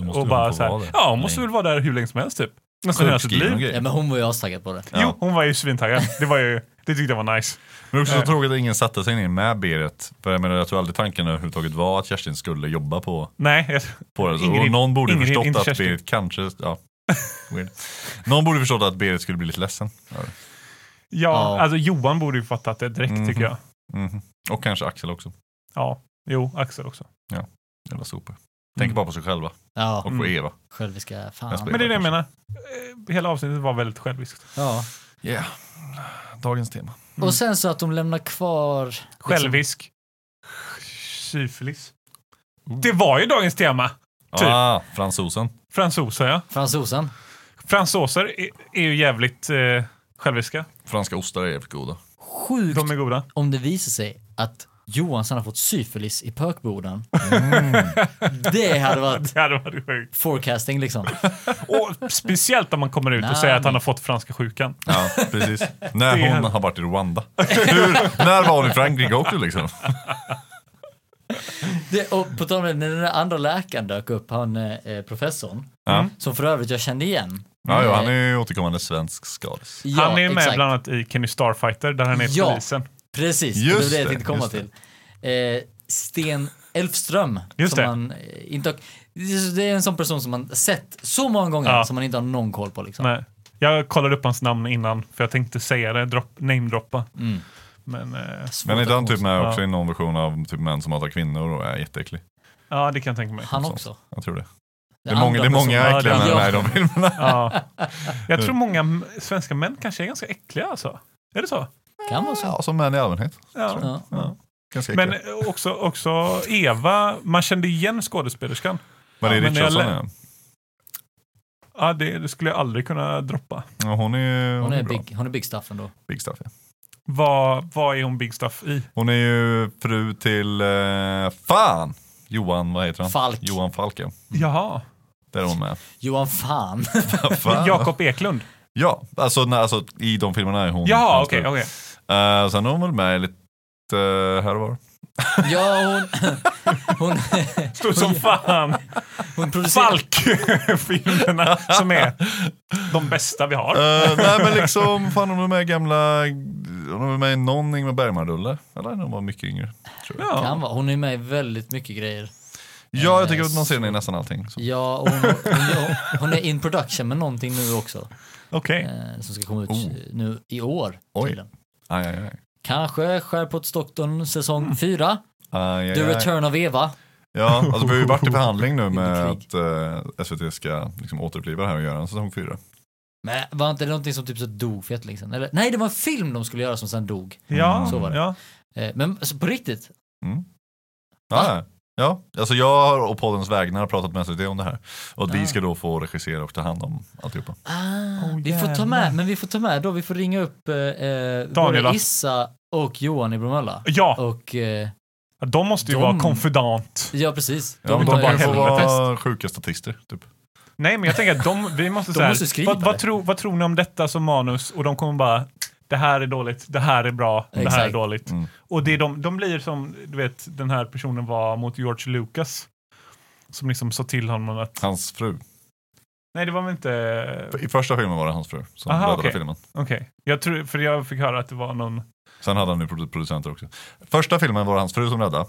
Speaker 2: måste
Speaker 4: och
Speaker 2: väl
Speaker 4: bara
Speaker 2: hon få
Speaker 4: så här,
Speaker 2: vara där?
Speaker 4: ja hon måste
Speaker 2: Nej.
Speaker 4: väl vara där hur länge som helst typ. Nästan hela sitt
Speaker 2: Sjukskriven
Speaker 4: liv.
Speaker 2: grej.
Speaker 3: Ja, men hon var ju astaggad på det.
Speaker 2: Ja.
Speaker 4: Jo, hon var ju svintaggad. Det, var ju, det tyckte jag var nice.
Speaker 2: Men också så
Speaker 4: Eh.
Speaker 2: tråkigt att ingen satte sig ner med Berit. För jag menar, jag tror aldrig tanken överhuvudtaget var att Kerstin skulle jobba på,
Speaker 4: Nej, jag,
Speaker 2: på det. Så
Speaker 4: Ingrid-
Speaker 2: och någon borde
Speaker 4: Ingrid,
Speaker 2: förstått
Speaker 4: inte
Speaker 2: att
Speaker 4: Kerstin.
Speaker 2: Berit kanske, ja. Weird. Någon borde förstått att Berit skulle bli lite ledsen.
Speaker 4: ja,
Speaker 3: Ja.
Speaker 4: alltså Johan borde ju fattat det direkt
Speaker 2: Mhm.
Speaker 4: tycker jag.
Speaker 2: Mhm. Och kanske Axel också.
Speaker 4: Ja, jo, Axel också.
Speaker 2: Jävla sopor. Tänker
Speaker 4: Mm.
Speaker 2: bara på sig själva och
Speaker 3: Ja,
Speaker 2: på
Speaker 4: Mm.
Speaker 2: Eva.
Speaker 3: själviska
Speaker 2: Jag
Speaker 3: fan.
Speaker 2: spelar.
Speaker 4: Men det är det jag menar. Eh, Hela avsnittet var väldigt själviskt.
Speaker 3: Ja.
Speaker 2: Yeah. Dagens tema.
Speaker 4: Mm.
Speaker 3: Och sen så att de lämnar kvar... liksom-
Speaker 4: Självisk. Syfilis.
Speaker 2: Oh.
Speaker 4: Det var ju dagens tema. Typ.
Speaker 2: Ah, fransosen.
Speaker 4: Fransoser ja.
Speaker 3: Fransosen.
Speaker 4: Fransoser är, är ju jävligt eh, själviska.
Speaker 2: Franska ostar är jävligt goda.
Speaker 3: Sjukt
Speaker 4: De är goda.
Speaker 3: om det visar sig att Johansson har fått syfilis i pökboden.
Speaker 2: Mm.
Speaker 3: Det hade varit
Speaker 4: Det hade varit sjukt.
Speaker 3: forecasting liksom.
Speaker 4: Och speciellt om man kommer ut och säger att han har fått franska sjukan.
Speaker 2: Ja, precis. När hon
Speaker 4: är-
Speaker 2: har varit i Rwanda. Hur, när var hon i Frankrike också liksom?
Speaker 3: Det, och på tal om det, när den där andra läkaren dök upp, han eh, professorn,
Speaker 4: Mm.
Speaker 2: Ja.
Speaker 3: som för övrigt jag kände igen.
Speaker 2: Ja, ja, han är ju återkommande svensk skadis.
Speaker 3: Ja,
Speaker 4: han är ju med
Speaker 3: exakt.
Speaker 4: bland annat i Kenny Starfighter där han är
Speaker 3: Ja.
Speaker 4: polisen.
Speaker 3: Precis,
Speaker 2: Just
Speaker 3: det var det jag
Speaker 2: det,
Speaker 3: tänkte komma
Speaker 2: just
Speaker 3: till. Eh, Sten Elfström.
Speaker 4: Just
Speaker 3: som
Speaker 4: det.
Speaker 3: Man, eh, inte, har- det är en sån person som man sett så många gånger
Speaker 4: Ja.
Speaker 3: som man inte har någon koll på. Liksom.
Speaker 4: Nej. Jag kollade upp hans namn innan för jag tänkte säga det, drop, namedroppa.
Speaker 3: Mm.
Speaker 4: Men eh,
Speaker 3: Svårt
Speaker 2: Men är inte
Speaker 3: att
Speaker 2: han typ med
Speaker 4: Ja.
Speaker 2: också i någon version av typ män som hatar kvinnor och är jätteäcklig?
Speaker 4: ja, det kan jag tänka mig.
Speaker 3: Han
Speaker 2: sånt.
Speaker 3: också.
Speaker 2: Jag tror det.
Speaker 3: Det
Speaker 2: Det är många, det är många
Speaker 4: personer.
Speaker 2: äckliga män
Speaker 3: Ja,
Speaker 2: med i de filmerna.
Speaker 4: Ja. Jag tror många m- svenska män kanske är ganska äckliga alltså. Är det så?
Speaker 3: Kan vara så.
Speaker 2: Ja, som män i allmänhet.
Speaker 4: Ja.
Speaker 3: Ja.
Speaker 2: Ganska äckliga.
Speaker 4: Men
Speaker 2: Men,
Speaker 4: eh, också, också Eva, man kände igen skådespelerskan.
Speaker 2: det är
Speaker 4: men jag
Speaker 2: Richardson
Speaker 4: lä-
Speaker 2: ja.
Speaker 4: Ja, det, det skulle jag aldrig kunna droppa.
Speaker 2: ja. Hon är,
Speaker 3: Hon är
Speaker 2: bra.
Speaker 3: big, hon är big stuff ändå.
Speaker 2: big stuff, ja.
Speaker 4: Vad, vad är hon big stuff i?
Speaker 2: Hon är ju fru till, eh, fan! Johan, vad heter han?
Speaker 3: Falk.
Speaker 2: Johan Falk ja.
Speaker 4: Jaha.
Speaker 2: Där är hon med.
Speaker 3: Johan fan.
Speaker 2: Fan.
Speaker 4: Jakob Eklund.
Speaker 2: Ja, alltså, när, alltså i de filmerna är hon
Speaker 4: Jaha,
Speaker 2: hans
Speaker 4: okej.
Speaker 2: fru.
Speaker 4: okej.
Speaker 2: Eh, sen är hon väl med lite eh, här och var.
Speaker 3: ja, hon, hon,
Speaker 4: Stor som fan.
Speaker 3: hon producerar...
Speaker 4: Falk-filmerna som är de bästa vi har.
Speaker 2: Eh, nej men liksom, fan hon är med i gamla, hon är med i någon Ingmar Bergman-rulle. Eller när hon var mycket yngre. Tror jag.
Speaker 4: Ja.
Speaker 3: Kan vara. Hon är med i väldigt mycket grejer.
Speaker 2: Ja, jag tycker att man ser henne i nästan allting. Så.
Speaker 3: Ja, och hon, hon, hon är in production med någonting nu också.
Speaker 4: Okej.
Speaker 3: Eh, som ska komma ut
Speaker 2: Oh.
Speaker 3: eh, nu i år.
Speaker 2: Oj.
Speaker 3: tydligen.
Speaker 2: Aj, aj, aj.
Speaker 3: Kanske Skärpåtsdoktorn
Speaker 2: Mm.
Speaker 3: säsong 4.
Speaker 2: Aj,
Speaker 3: The
Speaker 2: aj, aj.
Speaker 3: Return of Eva.
Speaker 2: Ja, alltså vi har ju varit i förhandling nu med
Speaker 3: Under
Speaker 2: att eh, SVT ska liksom, återuppliva det här och göra en säsong fyra.
Speaker 3: Men var inte det någonting som typ så dog för länge sedan? Eller, nej, det var en film de skulle göra som sen dog.
Speaker 4: Ja,
Speaker 3: Så var det.
Speaker 4: Ja.
Speaker 3: Eh, men alltså, på riktigt, Va?
Speaker 2: Ja, ja, alltså jag har och poddens vägnar pratat med SVT om det här. Och att vi
Speaker 3: Ah.
Speaker 2: ska då få regissera och ta hand om alltihopa.
Speaker 3: Ah,
Speaker 4: Åh,
Speaker 3: vi får ta
Speaker 4: jävlar.
Speaker 3: med, men vi får ta med då, vi får ringa upp eh, eh,
Speaker 4: Daniel,
Speaker 3: både
Speaker 4: va?
Speaker 3: Issa och Johan i Bromölla.
Speaker 4: ja,
Speaker 3: Och, eh,
Speaker 4: de måste ju
Speaker 3: De-
Speaker 4: vara konfidant.
Speaker 3: ja precis.
Speaker 2: Ja, men
Speaker 3: tar-
Speaker 2: de bara
Speaker 4: får
Speaker 2: får
Speaker 4: vara
Speaker 2: vara sjuka statister typ.
Speaker 4: Nej, men jag tänker att de, vi måste
Speaker 3: De
Speaker 4: säga,
Speaker 3: måste skriva
Speaker 4: vad, vad,
Speaker 3: det.
Speaker 4: tro, vad tror ni om detta som manus? Och de kommer bara, det här är dåligt, det här är bra, det här är
Speaker 3: Exakt.
Speaker 4: dåligt.
Speaker 2: Mm.
Speaker 4: Och det är de, de blir som, du vet, den här personen var mot George Lucas. Som liksom sa till honom att,
Speaker 2: Hans fru.
Speaker 4: nej det var väl inte,
Speaker 2: I första filmen var det hans fru som
Speaker 4: Aha,
Speaker 2: räddade
Speaker 4: okej.
Speaker 2: filmen.
Speaker 4: Okej, jag tror, för jag fick höra att det var någon...
Speaker 2: Sen hade han ju produ- producenter också. Första filmen var det hans fru som räddade.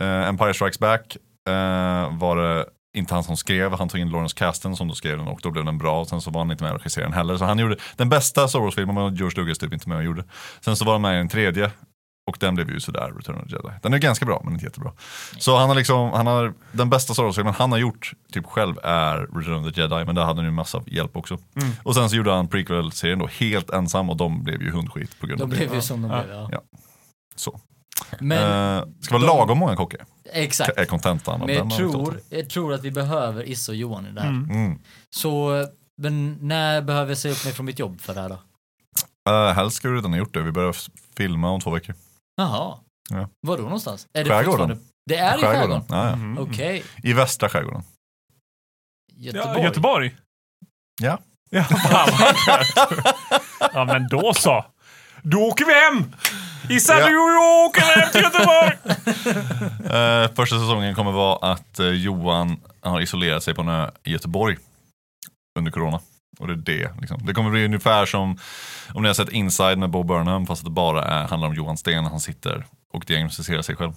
Speaker 2: Eh, Empire Strikes Back eh, var det inte han som skrev, han tog in Lawrence Kasten som då skrev den och då blev den bra och sen så var han inte med och regisserade den heller. Så han gjorde den bästa Star Wars-filmen var George Lucas typ inte med och gjorde. Sen så var han med i den tredje och den blev ju sådär, Return of the Jedi. Den är ganska bra men inte jättebra. Så han har liksom, han har, den bästa Star Wars-filmen han har gjort typ själv är Return of the Jedi men där hade han ju massa hjälp också. Och sen så gjorde han prequel-serien då helt ensam och de blev ju hundskit på grund
Speaker 3: De
Speaker 2: av det.
Speaker 3: blev ju som de
Speaker 4: Ja.
Speaker 3: blev. Ja.
Speaker 2: Ja. Så.
Speaker 3: Men
Speaker 2: Eh, ska vara lagom många kockar,
Speaker 3: exakt.
Speaker 2: är kontentan av
Speaker 3: Men
Speaker 2: den
Speaker 3: jag tror,
Speaker 2: anekdoten.
Speaker 3: jag tror att vi behöver Isse och Johan i det här.
Speaker 4: Mm.
Speaker 2: Mm.
Speaker 3: Så, men när behöver jag säga upp mig från mitt jobb för det här då?
Speaker 2: Uh, helst skulle du redan ha gjort det, vi börjar f- filma om två veckor.
Speaker 3: Jaha.
Speaker 2: Ja.
Speaker 3: Var då någonstans? Är
Speaker 2: Skärgården.
Speaker 3: fortfarande- Det är i skärgården?
Speaker 2: Ja, ja.
Speaker 4: Mm.
Speaker 3: Okej.
Speaker 2: I västra skärgården.
Speaker 3: Göteborg.
Speaker 4: Ja, Göteborg?
Speaker 2: Ja.
Speaker 4: Ja, fan vad skönt. ja, men då så. Då åker vi hem! Issa,
Speaker 2: Ja.
Speaker 4: du och jag åker hem till Göteborg!
Speaker 2: Eh, första säsongen kommer vara att eh, Johan har isolerat sig på en ö i Göteborg under corona. Och det är det. Liksom. Det kommer bli ungefär som om ni har sett Inside med Bo Burnham fast att det bara är, handlar om Johan Sten. Han sitter och diagnostiserar sig själv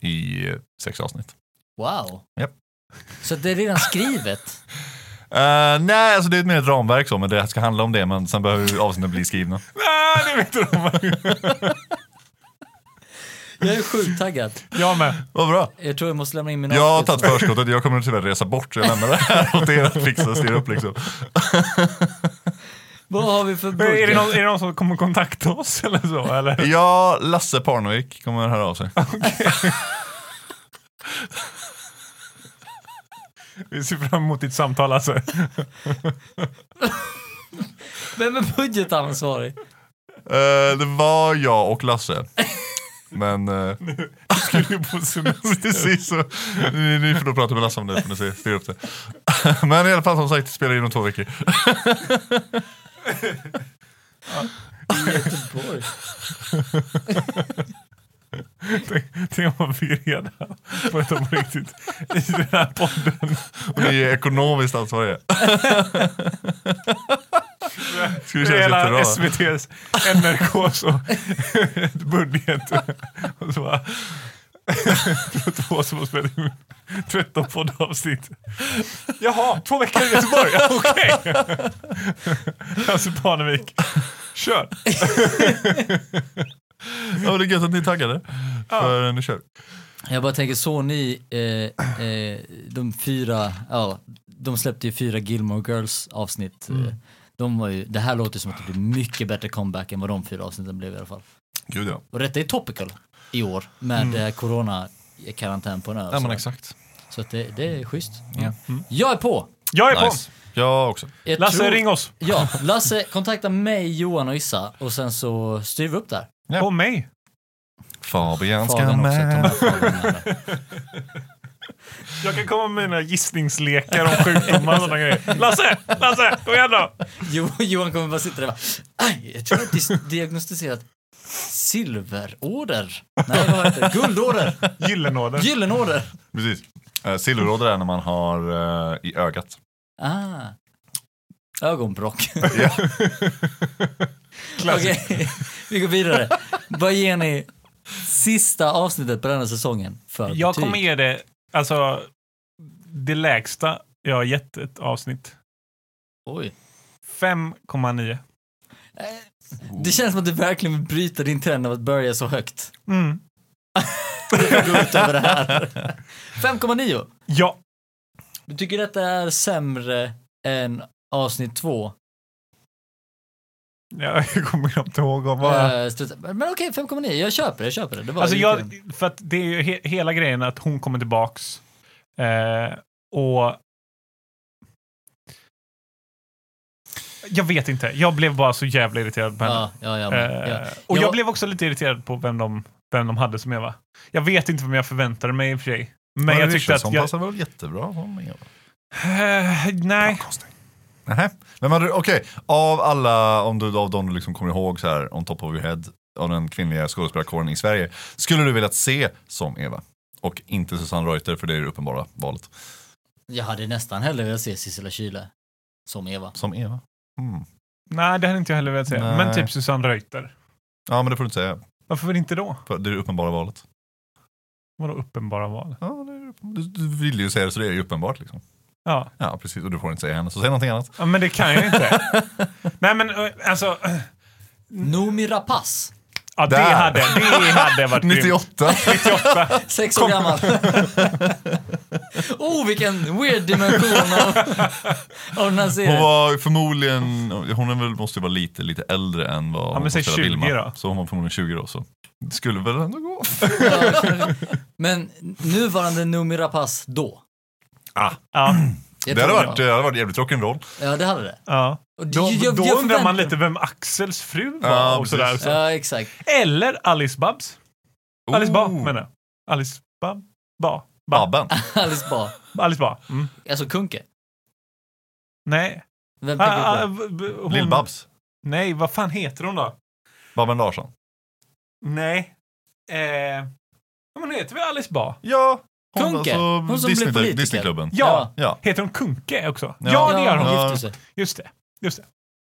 Speaker 2: i eh, sex avsnitt.
Speaker 3: Wow.
Speaker 2: Japp.
Speaker 3: Så det är redan skrivet?
Speaker 2: Eh, nej, alltså det är mer ett ramverk så, men det ska handla om det. Men sen behöver ju avsnitten bli skrivna.
Speaker 4: Nej, det vet du om.
Speaker 3: jag är sjukt taggad.
Speaker 4: Jag med.
Speaker 2: Vad bra.
Speaker 3: Jag tror jag måste lämna in mina
Speaker 2: Jag har
Speaker 3: avsnitt.
Speaker 2: tagit förskottet, jag kommer tyvärr resa bort så jag lämnar det här åt er att fixa och styra upp liksom.
Speaker 3: Vad har vi för budget?
Speaker 4: Är det, någon, är det någon som kommer kontakta oss eller så? Eller?
Speaker 2: Ja, Lasse Parnevik kommer höra av sig.
Speaker 4: Vi ser fram emot ditt samtal alltså.
Speaker 3: Vem är budgetansvarig?
Speaker 2: Eh, det var jag och Lasse. Men... eh,
Speaker 4: Skulle ju på semester.
Speaker 2: precis så. Ni, ni får då prata med Lasse om det, får ni se, styra upp det. Men i alla fall som sagt, spelar in om två veckor.
Speaker 3: Göteborg.
Speaker 4: Tänk om man fick reda på detta på riktigt i den här podden.
Speaker 2: Och ni är ekonomiskt ansvariga. Skulle kännas jättebra.
Speaker 4: Hela SVTs, NRKs och budget. Och så bara... Det var två som har spelat in 13 poddavsnitt. Jaha, två veckor i Göteborg? Ja, Okej. Lasse Parnevik, kör.
Speaker 2: Ja, men det är gött att ni är taggade. För nu kör vi.
Speaker 3: Jag bara tänker, såg ni eh, eh, de fyra, ja, de släppte ju fyra Gilmore Girls avsnitt. Eh, De var ju, det här låter som att det blir mycket bättre comeback än vad de fyra avsnitten blev i alla fall.
Speaker 2: Gud ja.
Speaker 3: Och detta är topical i år med mm. corona-karantän på en ö. och
Speaker 2: Ja men
Speaker 3: sådär.
Speaker 2: exakt.
Speaker 3: Så att det, det är schysst. Mm. Jag är på!
Speaker 4: Jag är på.
Speaker 2: Nice. Jag också.
Speaker 3: Jag
Speaker 4: Lasse,
Speaker 3: tror-
Speaker 4: ring oss.
Speaker 3: Ja, Lasse, kontakta mig, Johan och Issa och sen så styr vi upp där.
Speaker 2: Ja.
Speaker 4: På mig.
Speaker 2: Fabian ska
Speaker 3: Fabian också, ta
Speaker 2: med.
Speaker 3: med Fabian här där.
Speaker 4: Jag kan komma med mina gissningslekar om sjukdomar och sådana grejer. Lasse, Lasse, kom igen då.
Speaker 3: Jo, Johan kommer bara sitta där och bara, aj, jag tror att det är diagnostiserat silverorder. Nej, vad heter det? Guldorder.
Speaker 4: Gyllenåder.
Speaker 3: Gyllenorder.
Speaker 2: Precis. Eh, Silverråder är när man har eh, i ögat.
Speaker 3: Ah. Ögonbråck.
Speaker 2: Ja.
Speaker 3: Okej, vi går vidare. Vad ger ni sista avsnittet på denna säsongen för
Speaker 4: Jag
Speaker 3: betyg?
Speaker 4: kommer ge det, alltså, det lägsta jag har gett ett avsnitt.
Speaker 3: Oj.
Speaker 4: 5,9.
Speaker 3: Det känns som att du verkligen vill bryta din trend av att börja så högt.
Speaker 4: Mm.
Speaker 3: och gå ut över det här. 5,9.
Speaker 4: Ja,
Speaker 3: Du tycker detta är sämre än avsnitt två?
Speaker 4: jag kommer knappt ihåg om vad...
Speaker 3: Eh, struts- men okej, 5,9. Jag köper det, jag köper det. det var
Speaker 4: Alltså
Speaker 3: lite-
Speaker 4: jag, för att det är ju he, hela grejen att hon kommer tillbaks eh, och... Jag vet inte, jag blev bara så jävla irriterad på henne.
Speaker 3: Ja, ja, ja, men, ja.
Speaker 4: Eh, och jag
Speaker 3: Jag-
Speaker 4: blev också lite irriterad på vem de, vem de hade som Eva. Jag vet inte vem jag förväntade mig i och för sig. Men, jag tyckte att...
Speaker 2: Hon
Speaker 4: Jag,
Speaker 2: passar väl jättebra som Eva.
Speaker 4: Eh, nej.
Speaker 2: Nähä. Men hade du- Okej, av alla, om du, av de du liksom kommer ihåg så här, on top of your head, av den kvinnliga skådespelarkåren i Sverige, skulle du vilja se som Eva? Och inte Susanne Reuter, för det är det uppenbara valet.
Speaker 3: jag hade nästan hellre velat se Sissela Kyle som Eva.
Speaker 2: Som Eva? Mm.
Speaker 4: Nej, det hade inte jag heller velat säga.
Speaker 2: Nej.
Speaker 4: Men typ Susanne Reuter.
Speaker 2: Ja, men det får du inte säga.
Speaker 4: Varför inte då?
Speaker 2: För det är det uppenbara valet.
Speaker 4: Vadå uppenbara val?
Speaker 2: Ja, det är det Du, du vill ju säga det så det är ju uppenbart liksom.
Speaker 4: Ja.
Speaker 2: Ja, precis. Och du får inte säga henne, så säg någonting annat.
Speaker 4: ja, men det kan jag inte. Nej, men eh, alltså, Mm.
Speaker 3: Noomi Rapace.
Speaker 4: ja, det,
Speaker 2: Där.
Speaker 4: hade, det hade varit grymt.
Speaker 2: 98!
Speaker 4: 98.
Speaker 3: Sex år gammal. oh, vilken weird dimension av, av den här
Speaker 2: Hon
Speaker 3: serien.
Speaker 2: var förmodligen, hon är väl, måste ju vara lite, lite äldre än vad hon
Speaker 4: men säg
Speaker 2: spelar
Speaker 4: 20
Speaker 2: Vilma.
Speaker 4: då.
Speaker 2: Så hon var förmodligen 20 då. Så. Det skulle väl ändå gå?
Speaker 3: Men nuvarande Noomi Rapace då.
Speaker 4: Ja,
Speaker 3: Jag
Speaker 2: Det hade
Speaker 3: tror
Speaker 2: varit, det hade varit jävligt rock'n'roll.
Speaker 3: Ja, det hade det.
Speaker 4: ja.
Speaker 3: Och
Speaker 4: Då,
Speaker 3: jag- jag
Speaker 4: då undrar
Speaker 3: förvänt-
Speaker 4: man lite vem Axels fru var
Speaker 2: Ja,
Speaker 4: och sådär.
Speaker 2: precis.
Speaker 4: Så.
Speaker 3: Ja, exakt.
Speaker 4: Eller Alice Babs. Alice Ba
Speaker 2: Oh,
Speaker 4: menar jag. Alice Ba. Ba. ba.
Speaker 2: Babben.
Speaker 3: Alice Ba.
Speaker 4: Alice Ba. Mm.
Speaker 3: Alltså Kunke.
Speaker 4: Nej.
Speaker 3: Vem
Speaker 4: Ah,
Speaker 3: tänker du
Speaker 4: ah,
Speaker 3: på?
Speaker 4: v- v- hon-
Speaker 2: Lill-Babs.
Speaker 4: Nej, vad fan heter hon då?
Speaker 2: Babben Larsson.
Speaker 4: Nej. Eh, ja, men heter vi Alice Ba?
Speaker 2: Ja.
Speaker 3: Kunke. Hon som blev
Speaker 2: Disney,
Speaker 3: politiker.
Speaker 2: Disneyklubben.
Speaker 4: Ja.
Speaker 2: Ja.
Speaker 4: Heter hon Kunke också?
Speaker 2: Ja.
Speaker 4: Ja, det gör hon.
Speaker 2: Ja.
Speaker 3: gifte sig.
Speaker 4: Just det. Just det.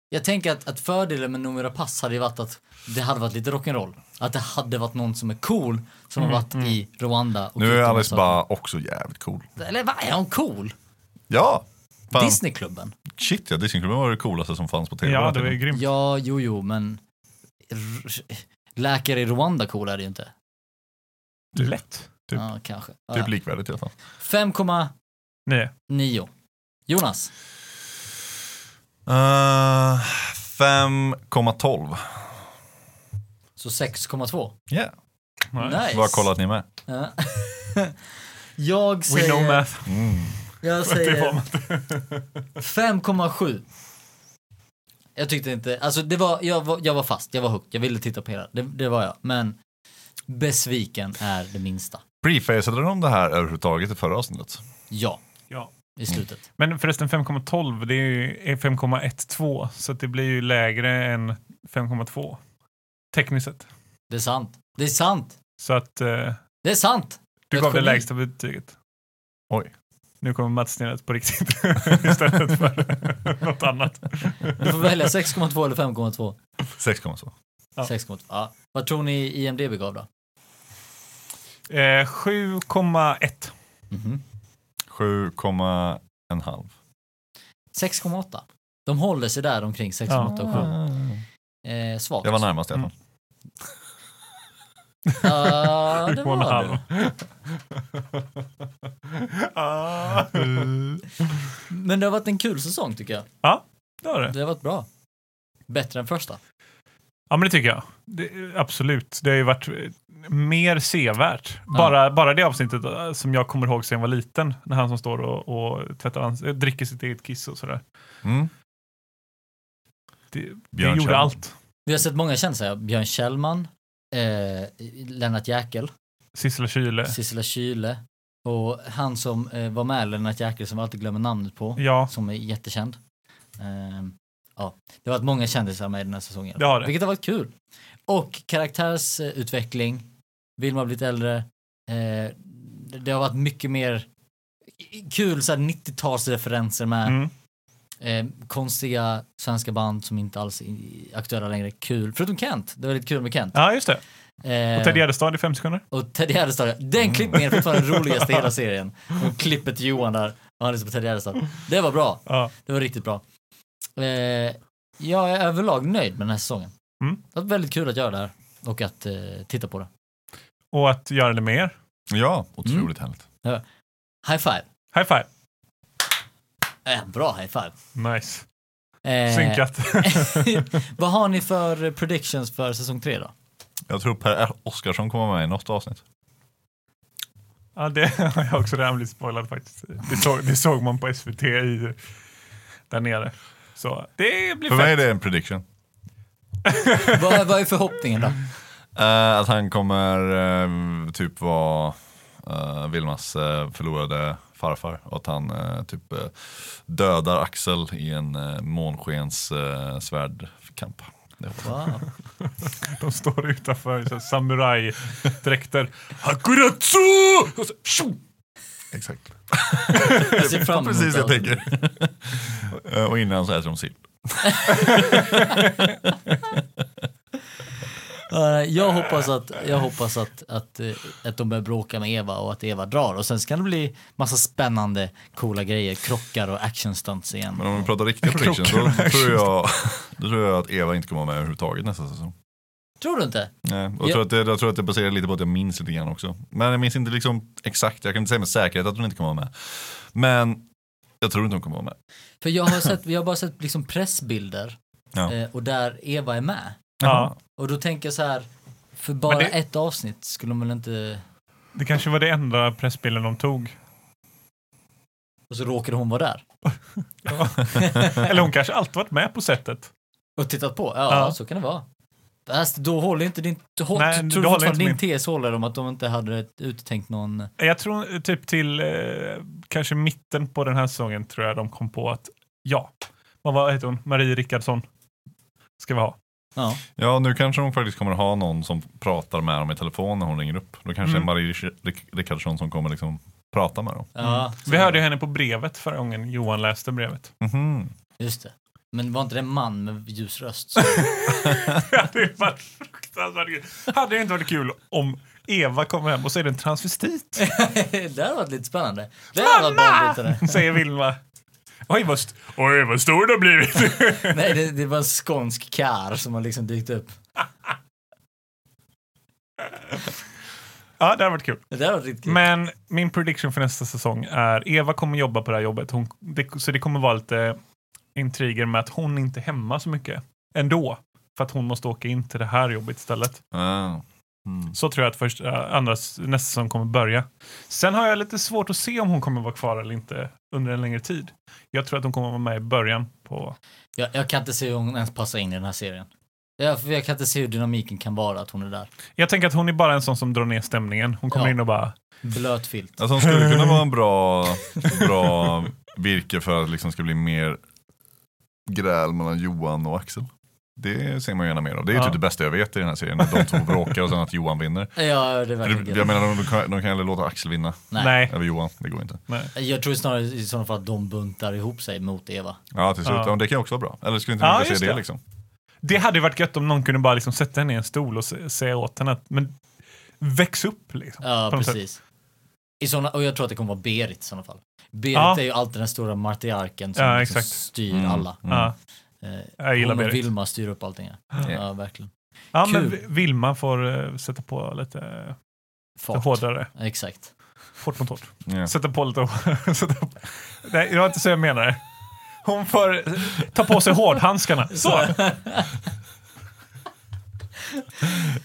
Speaker 3: Jag tänker att, att fördelen med Noomi Rapace hade ju varit att det hade varit lite rock'n'roll. Att det hade varit någon som är cool som har varit i Rwanda. Och
Speaker 2: Mm, Nu är
Speaker 3: gjort
Speaker 2: Alice
Speaker 3: de
Speaker 2: Ba också jävligt cool.
Speaker 3: sakerna. Eller vad är hon cool?
Speaker 2: Ja! Fan.
Speaker 3: Disneyklubben?
Speaker 2: Shit ja, Disneyklubben var det coolaste som fanns på tv.
Speaker 4: Ja, det var ju grymt.
Speaker 3: Ja, jo, jo, men r- läkare i Rwanda cool är det ju inte.
Speaker 4: Lätt.
Speaker 2: Typ.
Speaker 3: Ja, kanske. Ja,
Speaker 2: Typ
Speaker 3: ja.
Speaker 2: likvärdigt i alla fall.
Speaker 3: 5,9.
Speaker 4: Nej.
Speaker 3: Jonas,
Speaker 2: Eh, 5,12.
Speaker 3: så 6,2.
Speaker 2: Yeah.
Speaker 3: Nice.
Speaker 2: Vad kollat ni med?
Speaker 3: Ja. Jag
Speaker 4: We know
Speaker 3: säger,
Speaker 4: math.
Speaker 3: jag
Speaker 4: Det var
Speaker 3: säger
Speaker 4: man.
Speaker 3: 5,7. Jag tyckte inte, alltså det var, jag var, jag var fast, jag var hooked, jag ville titta på hela, det, det var jag. Men besviken är det minsta.
Speaker 2: Prefaceade de det här överhuvudtaget i förra avsnittet?
Speaker 3: Ja,
Speaker 4: Ja.
Speaker 3: i slutet.
Speaker 4: Men förresten 5,12 det är ju är 5,12 så att det blir ju lägre än 5,2 tekniskt sett.
Speaker 3: Det är sant. Det är sant.
Speaker 4: Så att eh,
Speaker 3: Det är sant.
Speaker 4: du
Speaker 3: Ett
Speaker 4: gav det
Speaker 3: geni.
Speaker 4: lägsta betyget.
Speaker 2: Oj.
Speaker 4: Nu kommer Mats snillat på riktigt istället för något annat.
Speaker 3: Du får välja 6,2 eller 5,2.
Speaker 2: 6,2.
Speaker 4: Ja.
Speaker 3: 6,2. Ja. Vad tror ni IMDB gav då?
Speaker 4: Eh, 7,1.
Speaker 2: 7,5.
Speaker 3: 6,8. De håller sig där omkring 6,8 och 7.
Speaker 4: Mm.
Speaker 3: Eh, svagt.
Speaker 2: Jag var närmast i alla fall.
Speaker 3: Ja, det var du.
Speaker 4: 7,5. ah,
Speaker 3: Men det har varit en kul säsong tycker jag.
Speaker 4: det var det.
Speaker 3: Det har varit bra. Bättre än första.
Speaker 4: Ja, men det tycker jag. Det, absolut. Det har ju varit eh, mer sevärt. Bara, bara det avsnittet eh, som jag kommer ihåg sen jag var liten, när han som står och, och tvättar hans, eh, dricker sitt eget kiss och sådär.
Speaker 2: Mm.
Speaker 4: Det, det
Speaker 2: Björn Kjell.
Speaker 4: gjorde allt.
Speaker 3: Vi har sett många kändisar. Björn Kjellman, eh, Lennart Jäkel,
Speaker 4: Sissela Kyle.
Speaker 3: Sissela Kyle och han som eh, var med Lennart Jäkel som vi alltid glömmer namnet på,
Speaker 4: Ja,
Speaker 3: som är jättekänd. Eh, ja, det har varit många kändisar med i den här säsongen.
Speaker 4: Det har det.
Speaker 3: Vilket har varit kul. Och karaktärsutveckling. Vilma har blivit äldre. Eh, det har varit mycket mer kul så här 90-talsreferenser med.
Speaker 4: mm.
Speaker 3: Eh, konstiga svenska band som inte alls är aktuella längre. Kul. Förutom Kent. Det var lite kul med Kent.
Speaker 4: ja just det.
Speaker 3: Eh,
Speaker 4: Och Ted Gärdestad i fem sekunder.
Speaker 3: och Ted Gärdestad. Den klippningen är fortfarande den roligaste i hela serien. Och klippet Johan där och han lyssnar på Ted Gärdestad. Det var bra.
Speaker 4: Ja.
Speaker 3: Det var riktigt bra. Eh, jag är överlag nöjd med den här säsongen.
Speaker 4: Mm.
Speaker 3: Det var väldigt kul att göra det här och att eh, titta på det.
Speaker 4: Och att göra det med er.
Speaker 2: Ja, otroligt
Speaker 4: Mm.
Speaker 2: härligt.
Speaker 3: High five.
Speaker 4: High five.
Speaker 3: Eh, bra high five.
Speaker 4: Nice.
Speaker 3: Eh,
Speaker 4: Synkat.
Speaker 3: vad har ni för predictions för säsong tre då?
Speaker 2: Jag tror Per Oscarsson kommer med i något avsnitt.
Speaker 4: ja, det har jag också redan blivit spoilad faktiskt. Det såg, det såg man på SVT i, där nere. Så det blir
Speaker 2: För mig är
Speaker 4: fett.
Speaker 2: det en prediction.
Speaker 3: vad, vad är förhoppningen då?
Speaker 2: Eh, att han kommer eh, typ vara eh, Vilmas eh, förlorade farfar. Och att han eh, typ eh, dödar Axel i en eh, månskens eh, svärdkamp. Det hoppas jag.
Speaker 3: Wow.
Speaker 4: De står utanför i så här samurajdräkter.
Speaker 2: Hakuratsu! Och så, tjo! Exakt.
Speaker 3: Jag ser fram emot
Speaker 2: Precis det jag
Speaker 3: allt.
Speaker 2: tänker. Eh, och innan så äter de sill.
Speaker 3: Ja, Jag hoppas att, jag hoppas att, att, eh, att de börjar bråka med Eva och att Eva drar. Och sen ska det bli massa spännande, coola grejer. Krockar och actionstunts igen.
Speaker 2: Men om vi pratar riktiga predictions,
Speaker 1: Klockan
Speaker 2: då
Speaker 1: är
Speaker 2: tror, jag, då tror jag att Eva inte kommer vara med överhuvudtaget nästa säsong.
Speaker 3: Tror du inte?
Speaker 2: Nej, och jag,
Speaker 3: Ja.
Speaker 2: tror att det, jag tror att det baserar lite på att jag minns lite grann också. Men jag minns inte liksom exakt, jag kan inte säga med säkerhet att hon inte kommer vara med. Men jag tror inte hon kommer vara med.
Speaker 3: För jag har, sett, jag har bara sett liksom pressbilder
Speaker 2: Ja.
Speaker 3: eh, och där Eva är med.
Speaker 4: Ja,
Speaker 3: Och då tänker jag så här, för bara
Speaker 4: det-
Speaker 3: ett avsnitt skulle man väl inte...
Speaker 4: det kanske var det enda pressbilden de tog.
Speaker 3: Och så råkade hon vara där.
Speaker 4: Eller hon kanske alltid varit med på sättet.
Speaker 3: Och tittat på? Ja,
Speaker 4: Ja.
Speaker 3: så kan det vara. Fast då håller inte din... Hå,
Speaker 4: Nej,
Speaker 3: Nej,
Speaker 4: du
Speaker 3: tror du
Speaker 4: håller
Speaker 3: fortfarande din
Speaker 4: inte
Speaker 3: tes håller om att de inte hade uttänkt någon...
Speaker 4: Jag tror typ till eh, kanske mitten på den här säsongen tror jag de kom på att ja, vad var, heter hon? Marie Rickardsson ska vi ha.
Speaker 3: Ja.
Speaker 4: Mm.
Speaker 2: Ja, nu kanske hon faktiskt kommer ha någon som pratar med dem i telefon när hon ringer upp. Då kanske det är
Speaker 4: Mm.
Speaker 2: Marie Rick- Rick- Rickardsson som kommer liksom prata med dem.
Speaker 3: ja
Speaker 4: Vi hörde ju henne på brevet förra gången Johan läste brevet.
Speaker 2: Mhm.
Speaker 3: Just det. Men var inte det en man med ljus röst? Så-
Speaker 4: det hade ju varit fruktansvärt kul. Hade det inte varit kul om Eva kommer hem och så är det en transvestit,
Speaker 3: det hade varit lite spännande. Det hade varit banbrytande.
Speaker 4: säger Vilma. Oj vad, st- Oj, vad stor du har blivit.
Speaker 3: Nej, det, det var en skånsk kar som har liksom dykt upp.
Speaker 4: ja, det hade varit kul.
Speaker 3: Det hade varit riktigt kul.
Speaker 4: Men min prediction för nästa säsong är Eva kommer jobba på det här jobbet. Hon, det, så det kommer vara lite intriger med att hon inte är hemma så mycket ändå. För att hon måste åka in till det här jobbet istället.
Speaker 2: Ah. Mm.
Speaker 4: Så tror jag att först, äh, andra, s- nästa säsong kommer börja. Sen har jag lite svårt att se om hon kommer vara kvar eller inte under en längre tid. Jag tror att hon kommer vara med i början på...
Speaker 3: Jag, jag kan inte se hur hon ens passar in i den här serien. Jag, jag kan inte se hur dynamiken kan vara att hon är där.
Speaker 4: Jag tänker att hon är bara en sån som drar ner stämningen. Hon kommer
Speaker 3: Ja.
Speaker 4: in och bara...
Speaker 3: Blöt filt.
Speaker 2: Alltså hon skulle kunna vara en bra, bra virke för att det liksom ska bli mer gräl mellan Johan och Axel. Det ser man ju gärna mer av. Det är ju
Speaker 4: Ja.
Speaker 2: typ det bästa jag vet i den här serien. När de två bråkar och sen att Johan vinner.
Speaker 3: Ja, det är verkligen
Speaker 2: Jag menar, de, de kan de kan aldrig låta Axel vinna
Speaker 3: Nej.
Speaker 4: Nej.
Speaker 2: över Johan. Det går inte.
Speaker 3: Jag tror snarare i sådana fall att de buntar ihop sig mot Eva.
Speaker 2: Ja, till slut.
Speaker 4: Ja.
Speaker 2: Ja. Det kan ju också vara bra. Eller skulle inte
Speaker 4: Ja,
Speaker 2: ni vilja
Speaker 4: just
Speaker 2: se det,
Speaker 4: det.
Speaker 2: liksom?
Speaker 4: Det hade ju varit gött om någon kunde bara liksom sätta henne i en stol och se- säga åt henne att men väx upp liksom.
Speaker 3: Ja,
Speaker 4: På något sätt.
Speaker 3: precis. I såna, och jag tror att det kommer vara Berit i sådana fall. Berit
Speaker 4: Ja.
Speaker 3: är ju alltid den stora matriarken som
Speaker 4: Ja,
Speaker 3: liksom
Speaker 4: exakt.
Speaker 3: styr
Speaker 2: Mm.
Speaker 3: alla.
Speaker 2: Mm.
Speaker 4: Ja,
Speaker 3: Eh,
Speaker 4: jag gillar
Speaker 3: Hon och
Speaker 4: Berit.
Speaker 3: Vilma styr upp allting. Ja, ja verkligen.
Speaker 4: ja,
Speaker 3: Kul.
Speaker 4: men Vi- Vilma får eh, sätta på lite eh,
Speaker 3: Fart.
Speaker 4: hårdare.
Speaker 3: Exakt.
Speaker 4: Hårt mot hårt.
Speaker 2: Ja.
Speaker 4: Sätta på lite sätta på. Nej, det var inte så jag menade. Hon får ta på sig hårdhandskarna. Så!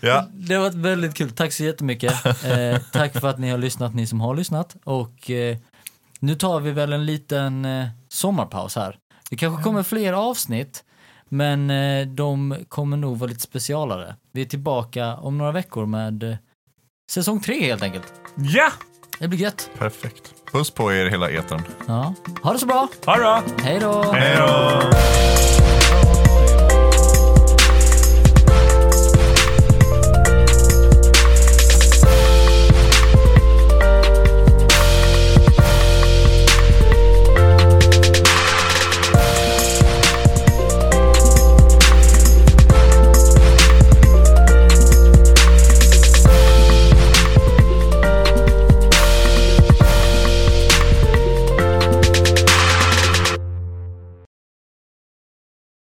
Speaker 2: Ja.
Speaker 3: Det har varit väldigt kul. Tack så jättemycket. Eh, tack för att ni har lyssnat, ni som har lyssnat. Och eh, nu tar vi väl en liten eh, sommarpaus här. Det kanske kommer fler avsnitt, men eh, de kommer nog vara lite specialare. Vi är tillbaka om några veckor med eh, säsong tre helt enkelt.
Speaker 4: Ja!
Speaker 3: Det blir gött.
Speaker 2: Perfekt. Puss på er hela etern.
Speaker 3: Ja. Ha det så bra.
Speaker 4: Ha det bra!
Speaker 3: Hej då.
Speaker 4: Hej då!